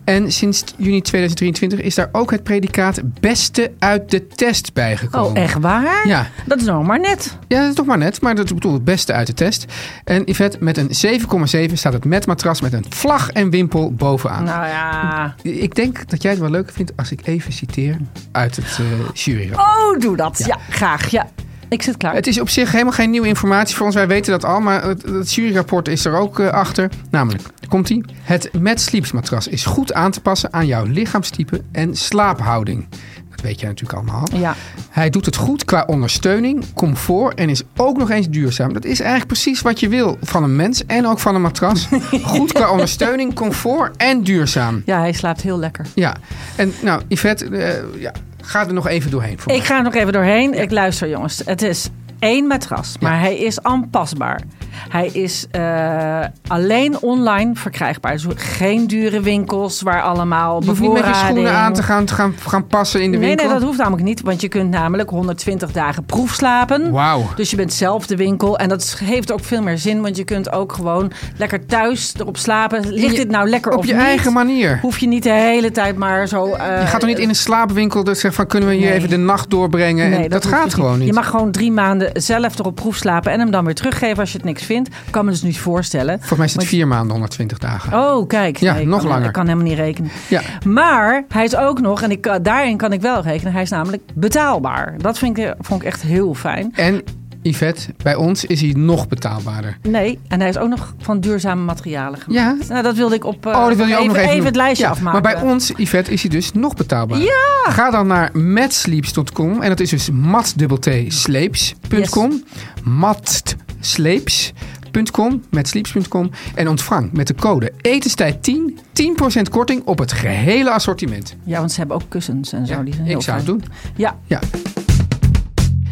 [SPEAKER 2] En sinds juni 2023 is daar ook het predicaat beste uit de test bijgekomen.
[SPEAKER 3] Oh, echt waar?
[SPEAKER 2] Ja.
[SPEAKER 3] Dat is nou maar net.
[SPEAKER 2] Ja, dat is toch maar net, maar dat bedoel het beste uit de test. En Yvette, met een 7,7 staat het met matras met een vlag en wimpel bovenaan.
[SPEAKER 3] Nou ja.
[SPEAKER 2] Ik denk dat jij het wel leuk vindt als ik even citeer uit het eh juryrapport.
[SPEAKER 3] Oh, doe dat. Ja, graag. Ja. Ik zit klaar.
[SPEAKER 2] Het is op zich helemaal geen nieuwe informatie voor ons. Wij weten dat al, maar het, het juryrapport is er ook eh, achter. Namelijk, komt ie. Het Mad Sleeps matras is goed aan te passen aan jouw lichaamstype en slaaphouding. Dat weet jij natuurlijk allemaal. al.
[SPEAKER 3] Ja.
[SPEAKER 2] Hij doet het goed qua ondersteuning, comfort en is ook nog eens duurzaam. Dat is eigenlijk precies wat je wil van een mens en ook van een matras. Goed qua ondersteuning, comfort en duurzaam.
[SPEAKER 3] ja, hij slaapt heel lekker.
[SPEAKER 2] Ja, en nou, Yvette, eh, ja, ga er nog even doorheen voor
[SPEAKER 3] Ik
[SPEAKER 2] mij.
[SPEAKER 3] ga er nog even doorheen. Ik luister, jongens. Het is één matras, maar hij is aanpasbaar. Hij is eh, alleen online verkrijgbaar. Dus geen dure winkels waar allemaal
[SPEAKER 2] Je hoeft niet met je schoenen
[SPEAKER 3] bevoorrading-
[SPEAKER 2] aan te gaan, te gaan, gaan passen in de
[SPEAKER 3] Nee,
[SPEAKER 2] winkel.
[SPEAKER 3] nee, dat hoeft namelijk niet. Want je kunt namelijk 120 dagen proefslapen.
[SPEAKER 2] Wauw.
[SPEAKER 3] Dus je bent zelf de winkel. En dat heeft ook veel meer zin. Want je kunt ook gewoon lekker thuis erop slapen. Ligt dit nou lekker
[SPEAKER 2] Op
[SPEAKER 3] of
[SPEAKER 2] je
[SPEAKER 3] niet?
[SPEAKER 2] eigen manier.
[SPEAKER 3] Hoef je niet de hele tijd maar zo... eh,
[SPEAKER 2] Je gaat toch niet in een slaapwinkel dat zegt van kunnen we hier
[SPEAKER 3] Nee.
[SPEAKER 2] even de nacht doorbrengen? En
[SPEAKER 3] Nee,
[SPEAKER 2] dat
[SPEAKER 3] hoeft
[SPEAKER 2] gaat
[SPEAKER 3] dus
[SPEAKER 2] gewoon niet.
[SPEAKER 3] Je mag gewoon drie maanden zelf erop proef slapen en hem dan weer teruggeven als je het niks vindt. Kan me dus niet voorstellen.
[SPEAKER 2] Volgens mij is het vier maanden 120 dagen.
[SPEAKER 3] Oh, kijk.
[SPEAKER 2] Ja,
[SPEAKER 3] ik
[SPEAKER 2] nog
[SPEAKER 3] kan,
[SPEAKER 2] langer.
[SPEAKER 3] Ik kan helemaal niet rekenen.
[SPEAKER 2] Ja.
[SPEAKER 3] Maar hij is ook nog, en ik, kan- daarin kan ik wel rekenen, hij is namelijk betaalbaar. Dat vind ik, eh, vond ik echt heel fijn.
[SPEAKER 2] En Yvette, bij ons is hij nog betaalbaarder.
[SPEAKER 3] Nee, en hij is ook nog van duurzame materialen gemaakt.
[SPEAKER 2] Ja.
[SPEAKER 3] Nou, dat wilde ik op. eh,
[SPEAKER 2] Oh, dat wil je ook nog even
[SPEAKER 3] even
[SPEAKER 2] doen.
[SPEAKER 3] het lijstje
[SPEAKER 2] Ja,
[SPEAKER 3] afmaken.
[SPEAKER 2] Maar bij ons, Yvette, is hij dus nog betaalbaarder.
[SPEAKER 3] Ja!
[SPEAKER 2] Ga dan naar matsleeps.com. En dat is dus matsleeps.com. Matsleeps.com. Matsleeps.com. En ontvang met de code etenstijd 10 10% korting op het gehele assortiment.
[SPEAKER 3] Ja, want ze hebben ook kussens en zo.
[SPEAKER 2] Ja,
[SPEAKER 3] Nou, die zijn heel
[SPEAKER 2] ik zou het
[SPEAKER 3] fijn.
[SPEAKER 2] doen.
[SPEAKER 3] Ja,
[SPEAKER 2] Ja.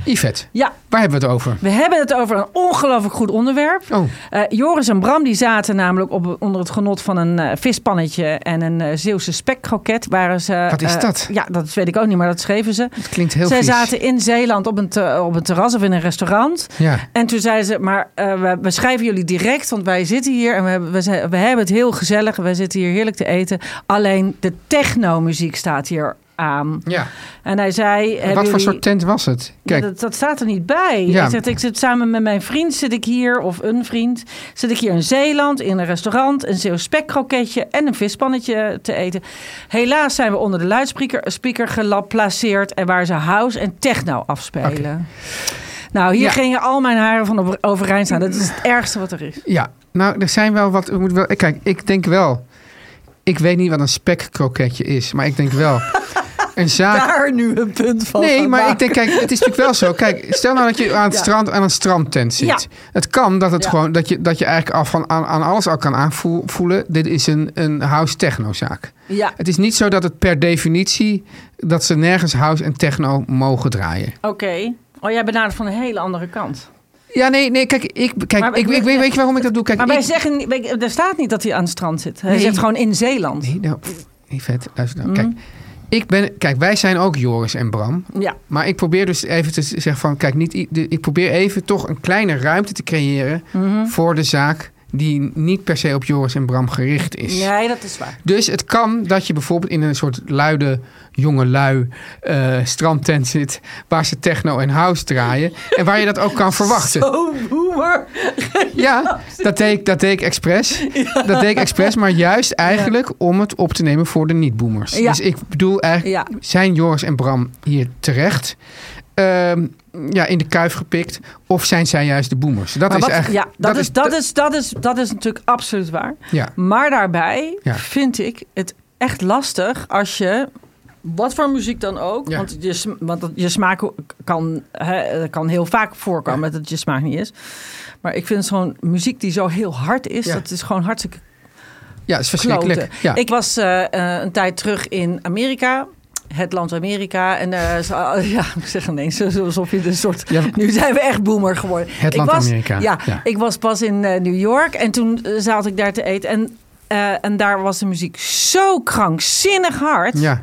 [SPEAKER 2] Yvette,
[SPEAKER 3] ja.
[SPEAKER 2] waar hebben we het over?
[SPEAKER 3] We hebben het over een ongelooflijk goed onderwerp.
[SPEAKER 2] Oh.
[SPEAKER 3] Eh, Joris en Bram die zaten namelijk op, onder het genot van een eh, vispannetje en een eh, Zeeuwse spekkroket. Waren ze,
[SPEAKER 2] Wat is
[SPEAKER 3] eh,
[SPEAKER 2] dat?
[SPEAKER 3] Ja, dat weet ik ook niet, maar dat schreven ze.
[SPEAKER 2] Het klinkt heel
[SPEAKER 3] Zij
[SPEAKER 2] vies.
[SPEAKER 3] zaten in Zeeland op een, te- op een terras of in een restaurant.
[SPEAKER 2] Ja.
[SPEAKER 3] En toen zeiden ze, maar eh, we, we schrijven jullie direct, want wij zitten hier en we, hebben- we, zijn- we hebben het heel gezellig. Wij zitten hier heerlijk te eten. Alleen de technomuziek staat hier aan.
[SPEAKER 2] Ja.
[SPEAKER 3] En hij zei...
[SPEAKER 2] Wat
[SPEAKER 3] hebben
[SPEAKER 2] voor
[SPEAKER 3] jullie-
[SPEAKER 2] soort tent was het? Kijk,
[SPEAKER 3] Ja, dat, dat staat er niet bij.
[SPEAKER 2] Ja.
[SPEAKER 3] Hij zegt, ik zit samen met mijn vriend, zit ik hier, of een vriend, zit ik hier in Zeeland, in een restaurant, een Zeeuws spekkroketje en een vispannetje te eten. Helaas zijn we onder de luidspreker speaker gelaplaceerd en waar ze house en techno afspelen. Nou, hier
[SPEAKER 2] Ja.
[SPEAKER 3] gingen al mijn haren van op- overeind staan. Dat is het ergste wat er is.
[SPEAKER 2] ja. Nou, er zijn wel wat... We moeten wel, kijk, ik denk wel... Ik weet niet wat een spekkroketje is, maar ik denk wel... Een zaak
[SPEAKER 3] Daar nu een punt van.
[SPEAKER 2] Nee,
[SPEAKER 3] gaan
[SPEAKER 2] maar
[SPEAKER 3] maken.
[SPEAKER 2] ik denk, kijk, het is natuurlijk wel zo. Kijk, stel nou dat je aan het strand aan een strandtent zit.
[SPEAKER 3] Ja.
[SPEAKER 2] Het kan dat het
[SPEAKER 3] Ja.
[SPEAKER 2] gewoon dat je, dat je eigenlijk al van aan, aan alles al kan aanvoelen. Dit is een, een house technozaak.
[SPEAKER 3] Ja,
[SPEAKER 2] Het is niet zo dat het per definitie dat ze nergens house en techno mogen draaien.
[SPEAKER 3] oké. Oh, jij benadert van een hele andere kant.
[SPEAKER 2] Ja, nee, nee, kijk, ik, kijk,
[SPEAKER 3] Maar-
[SPEAKER 2] ik, ik, weet, weet je waarom ik dat doe? Kijk,
[SPEAKER 3] Maar wij
[SPEAKER 2] ik-
[SPEAKER 3] zeggen, niet- wij- er staat niet dat hij aan het strand zit. Hij
[SPEAKER 2] Nee.
[SPEAKER 3] zegt gewoon in Zeeland.
[SPEAKER 2] Nee, nou, pff, nee, vet, luister nou.
[SPEAKER 3] Mhm.
[SPEAKER 2] Kijk, ik ben, kijk, wij zijn ook Joris en Bram.
[SPEAKER 3] Ja.
[SPEAKER 2] Maar ik probeer dus even te zeggen van, kijk, niet, i- de- ik probeer even toch een kleine ruimte te creëren
[SPEAKER 3] Mhm.
[SPEAKER 2] voor de zaak die niet per se op Joris en Bram gericht is.
[SPEAKER 3] Nee, dat is waar.
[SPEAKER 2] Dus het kan dat je bijvoorbeeld in een soort luide, jonge lui eh, strandtent zit... waar ze techno en house draaien en waar je dat ook kan verwachten.
[SPEAKER 3] Oh, boomer.
[SPEAKER 2] Ja, dat deed ik, dat deed ik expres. Dat deed ik expres, maar juist eigenlijk om het op te nemen voor de niet-boomers.
[SPEAKER 3] Ja.
[SPEAKER 2] Dus ik bedoel eigenlijk,
[SPEAKER 3] Ja.
[SPEAKER 2] zijn Joris en Bram hier terecht? Ehm, ja, in de kuif gepikt. Of zijn zij juist de boomers? Dat
[SPEAKER 3] Maar
[SPEAKER 2] is
[SPEAKER 3] wat-
[SPEAKER 2] eigenlijk...
[SPEAKER 3] ja, dat, is, dat, is, dat, is, dat is natuurlijk absoluut waar.
[SPEAKER 2] Ja,
[SPEAKER 3] Maar daarbij
[SPEAKER 2] Ja.
[SPEAKER 3] vind ik het echt lastig als je. Wat voor muziek dan ook.
[SPEAKER 2] Ja.
[SPEAKER 3] Want, je, sm- want dat- je smaak kan, hè, kan heel vaak voorkomen dat het je smaak niet is. Maar ik vind zo'n muziek die zo heel hard is,
[SPEAKER 2] Ja.
[SPEAKER 3] dat is gewoon hartstikke
[SPEAKER 2] ja, is verschrikkelijk.
[SPEAKER 3] kloten.
[SPEAKER 2] Ja.
[SPEAKER 3] Ik was eh, eh, een tijd terug in Amerika. Het land Amerika. En eh, zo- ja, ik zeg ineens zo- alsof je een soort...
[SPEAKER 2] Ja.
[SPEAKER 3] Nu zijn we echt boomer geworden.
[SPEAKER 2] Het
[SPEAKER 3] ik
[SPEAKER 2] land
[SPEAKER 3] was,
[SPEAKER 2] Amerika,
[SPEAKER 3] Ja,
[SPEAKER 2] ja.
[SPEAKER 3] ik was pas in eh, New York. En toen eh, zat ik daar te eten. En, eh, en daar was de muziek zo krankzinnig hard.
[SPEAKER 2] ja,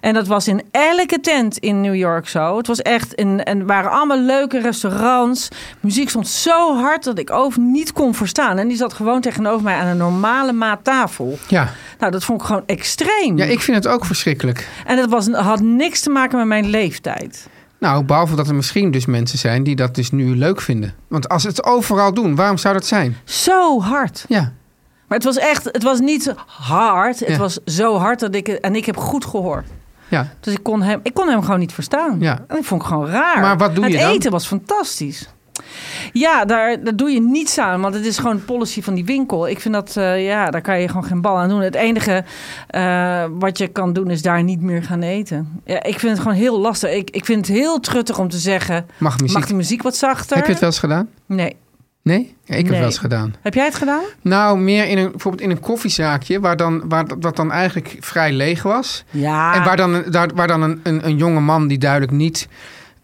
[SPEAKER 3] En dat was in elke tent in New York zo. Het was echt een, en het waren allemaal leuke restaurants. Muziek stond zo hard dat ik over niet kon verstaan. En die zat gewoon tegenover mij aan een normale maat tafel.
[SPEAKER 2] ja.
[SPEAKER 3] Nou, dat vond ik gewoon extreem.
[SPEAKER 2] ja, ik vind het ook verschrikkelijk.
[SPEAKER 3] En dat was, had niks te maken met mijn leeftijd.
[SPEAKER 2] Nou, behalve dat er misschien dus mensen zijn die dat dus nu leuk vinden. Want als ze het overal doen, waarom zou dat zijn?
[SPEAKER 3] Zo hard.
[SPEAKER 2] Ja,
[SPEAKER 3] Maar het was echt, het was niet hard. Het
[SPEAKER 2] Ja.
[SPEAKER 3] was zo hard dat ik, en ik heb goed gehoord.
[SPEAKER 2] ja.
[SPEAKER 3] Dus ik kon hem, ik kon hem gewoon niet verstaan.
[SPEAKER 2] Ja.
[SPEAKER 3] En dat vond ik gewoon raar.
[SPEAKER 2] Maar wat doe
[SPEAKER 3] het
[SPEAKER 2] je dan?
[SPEAKER 3] eten was fantastisch. Ja, daar, daar doe je niets aan, want het is gewoon de policy van die winkel. Ik vind dat, eh, ja, daar kan je gewoon geen bal aan doen. Het enige eh, wat je kan doen is daar niet meer gaan eten. Ja, ik vind het gewoon heel lastig. Ik, ik vind het heel truttig om te zeggen,
[SPEAKER 2] Mag muziek.
[SPEAKER 3] mag de muziek wat zachter?
[SPEAKER 2] Heb je het wel eens gedaan?
[SPEAKER 3] Nee.
[SPEAKER 2] Nee? Ja, ik heb het
[SPEAKER 3] Nee.
[SPEAKER 2] wel eens gedaan.
[SPEAKER 3] Heb jij het gedaan?
[SPEAKER 2] Nou, meer in een, bijvoorbeeld in een koffiezaakje, waar dan, waar, dat- wat dan eigenlijk vrij leeg was.
[SPEAKER 3] Ja.
[SPEAKER 2] En waar dan, een- daar, waar dan een, een, een jonge man die duidelijk niet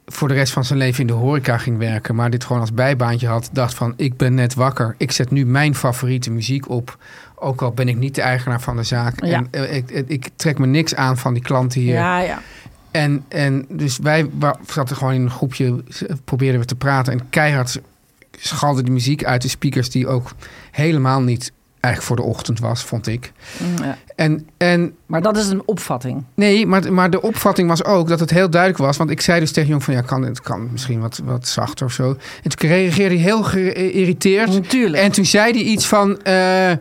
[SPEAKER 2] voor de rest van zijn leven in de horeca ging werken, maar dit gewoon als bijbaantje had, dacht van ik ben net wakker. Ik zet nu mijn favoriete muziek op. Ook al ben ik niet de eigenaar van de zaak.
[SPEAKER 3] Ja.
[SPEAKER 2] En, eh, ik, ik, ik trek me niks aan van die klanten hier.
[SPEAKER 3] Ja, ja.
[SPEAKER 2] En, en dus wij wa- zaten gewoon in een groepje, s- probeerden we te praten. En keihard schalde de muziek uit de speakers, die ook helemaal niet eigenlijk voor de ochtend was, vond ik.
[SPEAKER 3] Mm, ja.
[SPEAKER 2] En, en
[SPEAKER 3] Maar dat is een opvatting.
[SPEAKER 2] nee, maar, maar de opvatting was ook dat het heel duidelijk was. Want ik zei dus tegen Jong van ja, kan, het kan misschien wat, wat zachter of zo. En toen reageerde hij heel geïrriteerd.
[SPEAKER 3] Natuurlijk.
[SPEAKER 2] En toen zei hij iets van. eh,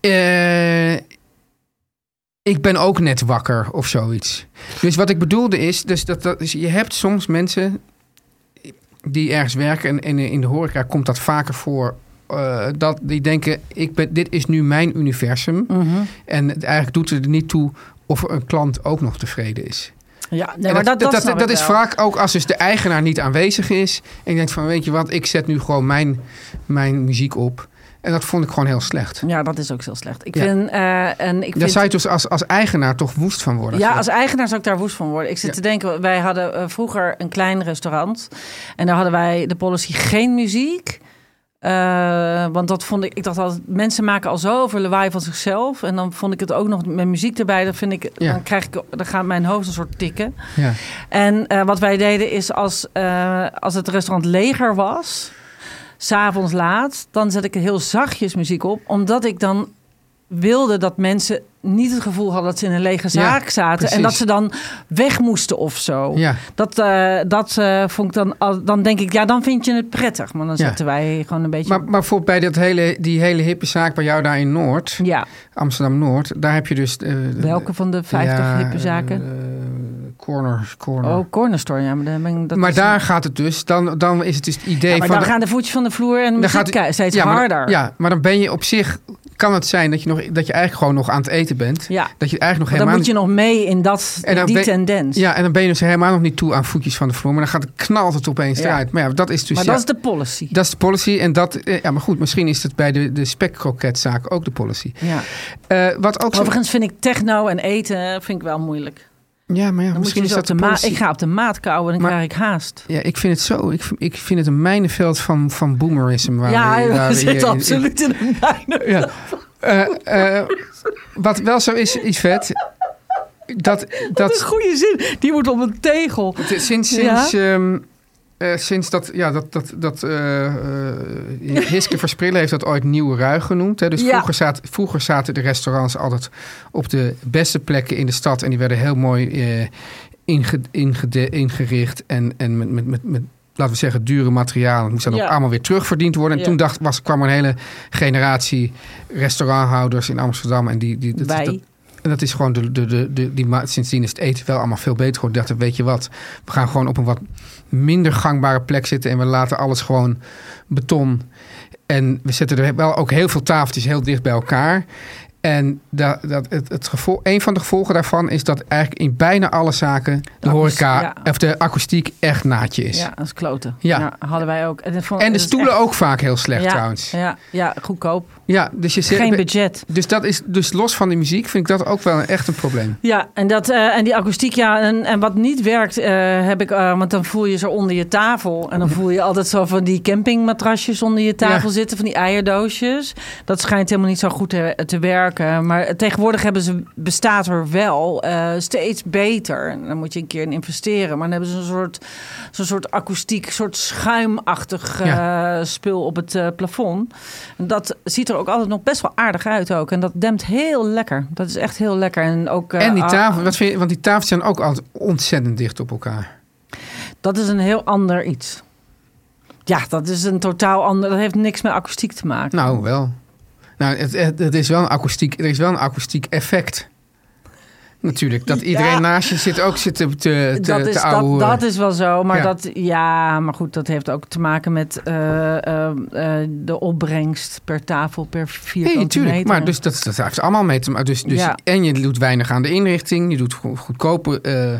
[SPEAKER 2] eh, ik ben ook net wakker of zoiets. Dus wat ik bedoelde is, dus dat, dat is, je hebt soms mensen die ergens werken en, en in de horeca komt dat vaker voor. eh, dat die denken, ik ben, dit is nu mijn universum.
[SPEAKER 3] Mhm.
[SPEAKER 2] En het eigenlijk doet het er niet toe of een klant ook nog tevreden is.
[SPEAKER 3] Ja, nee,
[SPEAKER 2] En
[SPEAKER 3] maar dat, dat,
[SPEAKER 2] dat,
[SPEAKER 3] snap ik
[SPEAKER 2] is
[SPEAKER 3] wel.
[SPEAKER 2] vaak ook als dus de eigenaar niet aanwezig is. En ik denk van, weet je wat, ik zet nu gewoon mijn, mijn muziek op. En dat vond ik gewoon heel slecht.
[SPEAKER 3] Ja, dat is ook heel slecht. Ik
[SPEAKER 2] Ja.
[SPEAKER 3] vind, eh, en ik
[SPEAKER 2] Daar
[SPEAKER 3] vind
[SPEAKER 2] zou je dus als, als eigenaar toch woest van worden.
[SPEAKER 3] Ja,
[SPEAKER 2] je-
[SPEAKER 3] als eigenaar zou ik daar woest van worden. Ik zit
[SPEAKER 2] Ja.
[SPEAKER 3] te denken, wij hadden eh, vroeger een klein restaurant. En daar hadden wij de policy geen muziek. Eh, want dat vond ik, ik dacht altijd, mensen maken al zoveel lawaai van zichzelf. En dan vond ik het ook nog met muziek erbij. Dan, vind ik,
[SPEAKER 2] Ja.
[SPEAKER 3] dan, krijg ik, dan gaat mijn hoofd een soort tikken.
[SPEAKER 2] ja.
[SPEAKER 3] En eh, wat wij deden is, als, eh, als het restaurant leger was, s'avonds laat, dan zet ik heel zachtjes muziek op. Omdat ik dan wilde dat mensen niet het gevoel hadden dat ze in een lege zaak
[SPEAKER 2] Ja,
[SPEAKER 3] zaten.
[SPEAKER 2] precies.
[SPEAKER 3] En dat ze dan weg moesten of zo.
[SPEAKER 2] Ja.
[SPEAKER 3] Dat, eh, dat eh, vond ik dan, al- dan denk ik, ja, dan vind je het prettig. Maar dan
[SPEAKER 2] Ja.
[SPEAKER 3] zetten wij gewoon een beetje.
[SPEAKER 2] Maar, maar bijvoorbeeld bij dat hele, die hele hippe zaak bij jou daar in Noord,
[SPEAKER 3] ja,
[SPEAKER 2] Amsterdam-Noord, daar heb je dus... eh,
[SPEAKER 3] welke van de 50
[SPEAKER 2] ja,
[SPEAKER 3] hippe zaken?
[SPEAKER 2] eh, corner, corner.
[SPEAKER 3] oh, corner store. Ja, maar dan ben ik, dat
[SPEAKER 2] maar
[SPEAKER 3] is-
[SPEAKER 2] daar gaat het dus, dan, dan is het dus het idee
[SPEAKER 3] Ja, maar
[SPEAKER 2] van...
[SPEAKER 3] dan
[SPEAKER 2] de-
[SPEAKER 3] gaan de voetjes van de vloer en de
[SPEAKER 2] dan
[SPEAKER 3] muziek
[SPEAKER 2] gaat-
[SPEAKER 3] gaat, steeds
[SPEAKER 2] ja, maar,
[SPEAKER 3] harder.
[SPEAKER 2] Ja, maar dan ben je op zich, kan het zijn dat je, nog, dat je eigenlijk gewoon nog aan het eten bent.
[SPEAKER 3] Ja.
[SPEAKER 2] Dat je eigenlijk nog
[SPEAKER 3] dan
[SPEAKER 2] helemaal
[SPEAKER 3] moet je nog mee in dat,
[SPEAKER 2] En dan
[SPEAKER 3] die
[SPEAKER 2] ben-
[SPEAKER 3] tendens.
[SPEAKER 2] Ja, en dan ben je dus helemaal nog niet toe aan voetjes van de vloer. Maar dan gaat het knalt het opeens
[SPEAKER 3] Ja.
[SPEAKER 2] eruit. Maar ja, dat is dus...
[SPEAKER 3] maar
[SPEAKER 2] ja,
[SPEAKER 3] dat is de policy.
[SPEAKER 2] dat is de policy en dat... eh, Ja, maar goed, misschien is het bij de, de spekkroketzaak ook de policy.
[SPEAKER 3] Ja.
[SPEAKER 2] Eh, wat ook zo-
[SPEAKER 3] Overigens vind ik techno en eten eh, vind ik wel moeilijk.
[SPEAKER 2] Ja, maar ja,
[SPEAKER 3] Dan
[SPEAKER 2] misschien
[SPEAKER 3] moet
[SPEAKER 2] is
[SPEAKER 3] je
[SPEAKER 2] dat
[SPEAKER 3] dus
[SPEAKER 2] de
[SPEAKER 3] op de maat.
[SPEAKER 2] policy.
[SPEAKER 3] Ik ga op de maat kouwen en dan
[SPEAKER 2] Maar-
[SPEAKER 3] krijg ik haast.
[SPEAKER 2] Ja, ik vind het zo. Ik, vind- ik vind het een mijnenveld van, van boomerism. Waar
[SPEAKER 3] ja,
[SPEAKER 2] we, waar
[SPEAKER 3] we
[SPEAKER 2] we hier in-
[SPEAKER 3] zitten
[SPEAKER 2] in-
[SPEAKER 3] absoluut in een minor.
[SPEAKER 2] Ja. Eh, eh, wat wel zo is, Yvette... Dat,
[SPEAKER 3] Dat is
[SPEAKER 2] dat,
[SPEAKER 3] goede zin. Die moet op een tegel.
[SPEAKER 2] t- sinds, sinds, ehm, eh, sinds dat, ja, dat, dat, dat eh, eh, Hiske Versprillen heeft dat ooit Nieuwe Ruig genoemd. Hè? Dus
[SPEAKER 3] Ja.
[SPEAKER 2] vroeger, zat, vroeger zaten de restaurants altijd op de beste plekken in de stad. En die werden heel mooi eh, inge- ingede- ingericht en, en met, met, met, met, laten we zeggen, dure materialen. Het moest dan
[SPEAKER 3] Ja.
[SPEAKER 2] ook allemaal weer terugverdiend worden. En
[SPEAKER 3] Ja.
[SPEAKER 2] toen dacht, was, kwam er een hele generatie restauranthouders in Amsterdam. En die, die, dat,
[SPEAKER 3] Wij.
[SPEAKER 2] dat- en dat is gewoon, de, de, de, de, die, ma- sindsdien is het eten wel allemaal veel beter geworden. Ik dacht, weet je wat, we gaan gewoon op een wat minder gangbare plek zitten. En we laten alles gewoon beton. En we zetten er wel ook heel veel tafeltjes heel dicht bij elkaar. En dat, dat, het, het gevolg, een van de gevolgen daarvan is dat eigenlijk in bijna alle zaken de,
[SPEAKER 3] akoest-
[SPEAKER 2] horeca
[SPEAKER 3] ja.
[SPEAKER 2] of de akoestiek echt naadje is.
[SPEAKER 3] Ja, dat is kloten.
[SPEAKER 2] Ja.
[SPEAKER 3] hadden wij ook. En, dat vond-
[SPEAKER 2] En de
[SPEAKER 3] dat is
[SPEAKER 2] stoelen
[SPEAKER 3] echt-
[SPEAKER 2] ook vaak heel slecht
[SPEAKER 3] ja,
[SPEAKER 2] trouwens.
[SPEAKER 3] Ja, ja, goedkoop.
[SPEAKER 2] Ja, dus je zegt.
[SPEAKER 3] Geen budget.
[SPEAKER 2] dus dat is dus los van de muziek vind ik dat ook wel een- echt een probleem.
[SPEAKER 3] Ja, en, dat, eh, en die akoestiek, ja. En, en wat niet werkt, eh, heb ik... eh, want dan voel je ze onder je tafel. En dan voel je altijd zo van die campingmatrasjes onder je tafel
[SPEAKER 2] Ja.
[SPEAKER 3] zitten. Van die eierdoosjes. Dat schijnt helemaal niet zo goed te, te werken. Maar tegenwoordig hebben ze, bestaat er wel eh, steeds beter. En dan moet je een keer in investeren. Maar dan hebben ze een soort, zo'n soort akoestiek, soort schuimachtig eh, spul op het eh, plafond. En dat ziet er ook altijd nog best wel aardig uit ook. En dat dempt heel lekker. Dat is echt heel lekker. En, ook, eh,
[SPEAKER 2] en die
[SPEAKER 3] ah,
[SPEAKER 2] tafel, wat vind je, want die tafels zijn ook altijd ontzettend dicht op elkaar.
[SPEAKER 3] Dat is een heel ander iets. Ja, dat is een totaal ander. Dat heeft niks met akoestiek te maken.
[SPEAKER 2] Nou, wel. Nou, het, het, het is wel een akoestiek, er is wel een akoestiek effect. Natuurlijk, dat iedereen
[SPEAKER 3] Ja.
[SPEAKER 2] naast je zit ook zit te, te,
[SPEAKER 3] dat,
[SPEAKER 2] te
[SPEAKER 3] is, dat,
[SPEAKER 2] ouwehoeren.
[SPEAKER 3] dat is wel zo. Maar
[SPEAKER 2] Ja.
[SPEAKER 3] dat, ja, maar goed, dat heeft ook te maken met eh, eh, eh, de opbrengst per tafel, per vierkante
[SPEAKER 2] Nee, tuurlijk.
[SPEAKER 3] meter.
[SPEAKER 2] Maar dus dat, dat heeft allemaal mee te maken. Dus, dus,
[SPEAKER 3] Ja.
[SPEAKER 2] En je doet weinig aan de inrichting. Je doet go- goedkope eh,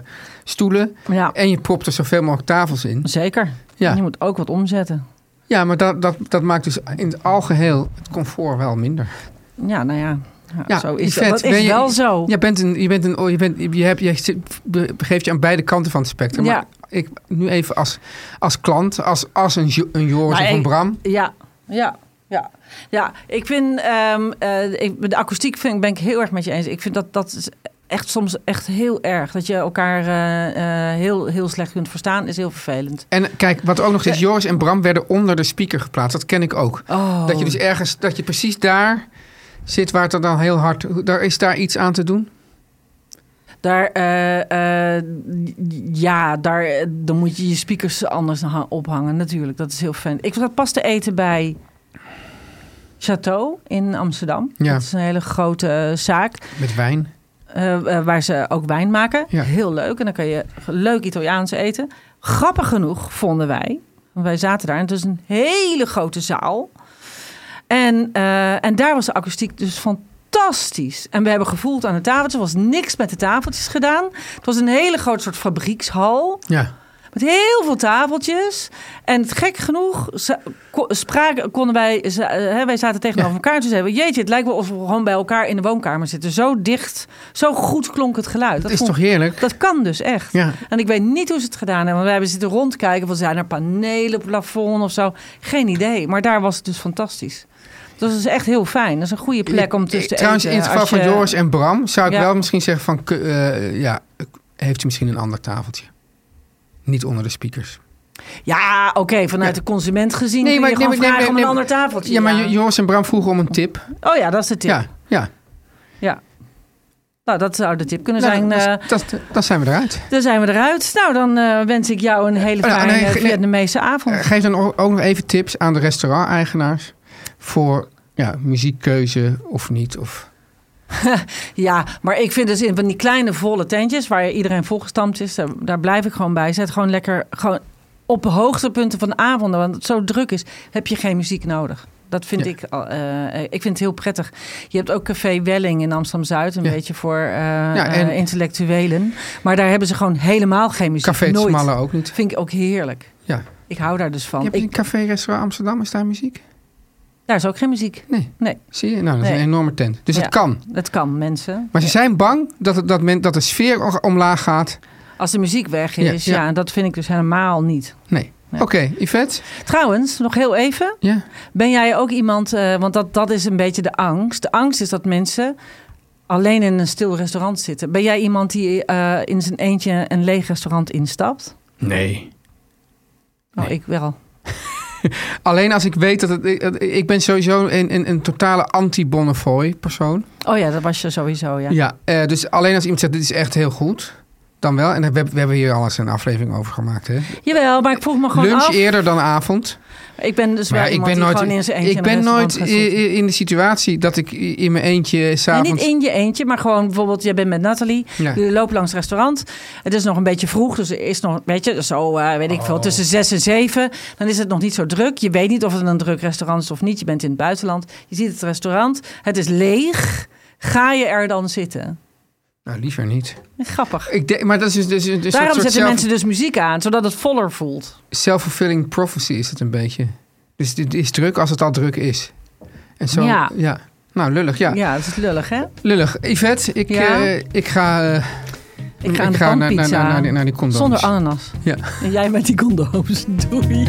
[SPEAKER 2] stoelen.
[SPEAKER 3] ja,
[SPEAKER 2] En je propt er zoveel mogelijk tafels in.
[SPEAKER 3] zeker.
[SPEAKER 2] Eh, Ja.
[SPEAKER 3] Je moet ook wat omzetten.
[SPEAKER 2] Ja, maar dat, dat, dat maakt dus in het algeheel het comfort wel minder.
[SPEAKER 3] Ja, nou ja. Ja,
[SPEAKER 2] Ja,
[SPEAKER 3] zo is
[SPEAKER 2] Yvette,
[SPEAKER 3] dat. Dat
[SPEAKER 2] ben
[SPEAKER 3] is
[SPEAKER 2] je-
[SPEAKER 3] wel zo.
[SPEAKER 2] Je, bent een, je, bent een, oh, je, bent, je, hebt, je zit- be- begeeft je aan beide kanten van het spectrum.
[SPEAKER 3] Ja.
[SPEAKER 2] Maar ik, nu even als, als klant, als, als een, Jo- een Joris
[SPEAKER 3] Maar
[SPEAKER 2] of een
[SPEAKER 3] ik-
[SPEAKER 2] Bram.
[SPEAKER 3] Ja, ja. Ja, ja, ik vind ehm, eh, ik, de akoestiek vind, ik- ben ik heel erg met je eens. Ik vind dat dat is echt soms echt heel erg. Dat je elkaar eh, eh, heel, heel slecht kunt verstaan is heel vervelend.
[SPEAKER 2] En kijk, wat ook nog is, Joris en Bram werden onder de speaker geplaatst. Dat ken ik ook.
[SPEAKER 3] Oh.
[SPEAKER 2] Dat je dus ergens, dat je precies daar zit waar het er dan heel hard... Daar, is daar iets aan te doen?
[SPEAKER 3] Daar, eh, eh, ja, daar, eh, dan moet je je speakers anders ha- ophangen natuurlijk. Dat is heel fijn. Ik zat pas te eten bij Chateau in Amsterdam.
[SPEAKER 2] Ja.
[SPEAKER 3] Dat is een hele grote eh, zaak.
[SPEAKER 2] Met wijn?
[SPEAKER 3] Eh, eh, waar ze ook wijn maken.
[SPEAKER 2] Ja.
[SPEAKER 3] Heel leuk. En dan kan je leuk Italiaans eten. Grappig genoeg vonden wij. want Wij zaten daar. En het is een hele grote zaal. En, eh, en daar was de akoestiek dus fantastisch. En we hebben gevoeld aan de tafeltjes. Er was niks met de tafeltjes gedaan. Het was een hele grote soort fabriekshal.
[SPEAKER 2] Ja.
[SPEAKER 3] Met heel veel tafeltjes. En het gek genoeg za- ko- spraken, konden wij, za- eh, hè, wij zaten tegenover elkaar. En toen zeiden we, jeetje, het lijkt wel alsof we gewoon bij elkaar in de woonkamer zitten. Zo dicht, zo goed klonk het geluid.
[SPEAKER 2] Dat is
[SPEAKER 3] vond-
[SPEAKER 2] toch heerlijk?
[SPEAKER 3] Dat kan dus echt.
[SPEAKER 2] Ja.
[SPEAKER 3] En ik weet niet hoe ze het gedaan hebben. Want wij hebben zitten rondkijken. Van, zijn er panelen, plafond of zo? Geen idee. Maar daar was het dus fantastisch. Dat is echt heel fijn. Dat is een goede plek om tussen te
[SPEAKER 2] Trouwens,
[SPEAKER 3] eten.
[SPEAKER 2] in het geval
[SPEAKER 3] als
[SPEAKER 2] van
[SPEAKER 3] je-
[SPEAKER 2] Joris en Bram zou ik
[SPEAKER 3] Ja.
[SPEAKER 2] wel misschien zeggen van... k- eh, ja, heeft u misschien een ander tafeltje? Niet onder de speakers.
[SPEAKER 3] Ja, oké. vanuit
[SPEAKER 2] Ja.
[SPEAKER 3] de consument gezien nee, kun je gewoon vragen om een ander tafeltje.
[SPEAKER 2] Ja, maar Jo- Joris en Bram vroegen om een tip.
[SPEAKER 3] Oh ja, dat is de tip.
[SPEAKER 2] Ja, ja.
[SPEAKER 3] Nou, dat zou de tip kunnen
[SPEAKER 2] Nou,
[SPEAKER 3] zijn. eh,
[SPEAKER 2] dat, dat, dat zijn we eruit.
[SPEAKER 3] dan zijn we eruit. Nou, dan eh, wens ik jou een hele
[SPEAKER 2] Eh, nou,
[SPEAKER 3] fijne
[SPEAKER 2] nee, ge- nee.
[SPEAKER 3] Vietnamese avond.
[SPEAKER 2] Eh, Geef dan o- ook nog even tips aan de restauranteigenaars voor ja, muziekkeuze of niet. Of,
[SPEAKER 3] Ja, maar ik vind dus in van die kleine volle tentjes waar iedereen volgestampt is, daar, daar blijf ik gewoon bij. Zet gewoon lekker gewoon op de hoogtepunten van de avonden, want het zo druk is, heb je geen muziek nodig. Dat vind
[SPEAKER 2] Ja.
[SPEAKER 3] ik, al- eh, eh, ik vind het heel prettig. Je hebt ook Café Welling in Amsterdam-Zuid, een
[SPEAKER 2] Ja.
[SPEAKER 3] beetje voor eh,
[SPEAKER 2] en-
[SPEAKER 3] eh, intellectuelen. Maar daar hebben ze gewoon helemaal geen muziek.
[SPEAKER 2] café het
[SPEAKER 3] Nooit.
[SPEAKER 2] Smalle ook niet.
[SPEAKER 3] Vind ik ook heerlijk.
[SPEAKER 2] Ja.
[SPEAKER 3] Ik hou daar dus
[SPEAKER 2] Je
[SPEAKER 3] van.
[SPEAKER 2] hebt
[SPEAKER 3] Ik-
[SPEAKER 2] een café-restaurant Amsterdam, is daar muziek?
[SPEAKER 3] daar is ook geen muziek.
[SPEAKER 2] Nee.
[SPEAKER 3] Nee.
[SPEAKER 2] Zie je? Nou, dat is
[SPEAKER 3] Nee.
[SPEAKER 2] een enorme tent. Dus
[SPEAKER 3] Ja.
[SPEAKER 2] het kan.
[SPEAKER 3] Dat kan, mensen.
[SPEAKER 2] Maar ze zijn bang dat, het- dat, men, dat de sfeer o- omlaag gaat.
[SPEAKER 3] Als de muziek weg
[SPEAKER 2] Ja,
[SPEAKER 3] is,
[SPEAKER 2] ja.
[SPEAKER 3] ja, dat vind ik dus helemaal niet.
[SPEAKER 2] Nee.
[SPEAKER 3] Nee.
[SPEAKER 2] Oké, Yvette.
[SPEAKER 3] Trouwens, nog heel even.
[SPEAKER 2] Ja.
[SPEAKER 3] Ben jij ook iemand, eh, want dat, dat is een beetje de angst. De angst is dat mensen alleen in een stil restaurant zitten. Ben jij iemand die eh, in zijn eentje een leeg restaurant instapt?
[SPEAKER 2] Nee.
[SPEAKER 3] Oh, ik wel.
[SPEAKER 2] Alleen als ik weet dat het... Ik, dat- ik ben sowieso een, een, een totale anti-Bonnefoy persoon.
[SPEAKER 3] Oh ja, dat was je sowieso, ja.
[SPEAKER 2] Ja. eh, dus alleen als iemand zegt, dit is echt heel goed... Dan wel. En we, hebben- we hebben hier al eens een aflevering over gemaakt. Hè?
[SPEAKER 3] Jawel, maar ik vroeg me gewoon
[SPEAKER 2] Lunch
[SPEAKER 3] af.
[SPEAKER 2] eerder dan avond.
[SPEAKER 3] Ik ben dus
[SPEAKER 2] Maar
[SPEAKER 3] wel
[SPEAKER 2] ja, ik
[SPEAKER 3] iemand
[SPEAKER 2] ben
[SPEAKER 3] die
[SPEAKER 2] nooit,
[SPEAKER 3] gewoon in zijn eentje
[SPEAKER 2] ik
[SPEAKER 3] in
[SPEAKER 2] ben
[SPEAKER 3] een
[SPEAKER 2] nooit
[SPEAKER 3] restaurant gaat zitten.
[SPEAKER 2] i- i- in de situatie dat ik i- in mijn eentje
[SPEAKER 3] Nee,
[SPEAKER 2] s'avonds...
[SPEAKER 3] niet in je eentje, maar gewoon bijvoorbeeld, jij bent met Nathalie.
[SPEAKER 2] Ja.
[SPEAKER 3] Jullie lopen langs het restaurant. Het is nog een beetje vroeg, dus er is nog, weet je, zo, eh, weet ik veel,
[SPEAKER 2] Oh.
[SPEAKER 3] tussen zes en zeven. Dan is het nog niet zo druk. Je weet niet of het een druk restaurant is of niet. Je bent in het buitenland. Je ziet het restaurant. Het is leeg. Ga je er dan zitten?
[SPEAKER 2] Nou, liever niet.
[SPEAKER 3] Grappig.
[SPEAKER 2] Ik denk, maar dat is dus, dus, dus
[SPEAKER 3] Daarom
[SPEAKER 2] een soort
[SPEAKER 3] zetten
[SPEAKER 2] zelf,
[SPEAKER 3] mensen dus muziek aan, zodat het voller voelt.
[SPEAKER 2] self-fulfilling prophecy is het een beetje. Dus het is druk als het al druk is. En zo, ja.
[SPEAKER 3] Ja.
[SPEAKER 2] Nou, lullig, ja.
[SPEAKER 3] Ja, dat is lullig, hè?
[SPEAKER 2] Lullig. Yvette, ik,
[SPEAKER 3] Ja?
[SPEAKER 2] eh, ik ga, eh,
[SPEAKER 3] Ik ga aan
[SPEAKER 2] ik
[SPEAKER 3] de
[SPEAKER 2] ga naar,
[SPEAKER 3] pandpizza.
[SPEAKER 2] naar, naar, die- naar die condooms.
[SPEAKER 3] Zonder ananas.
[SPEAKER 2] Ja.
[SPEAKER 3] En jij met die condooms. Doei.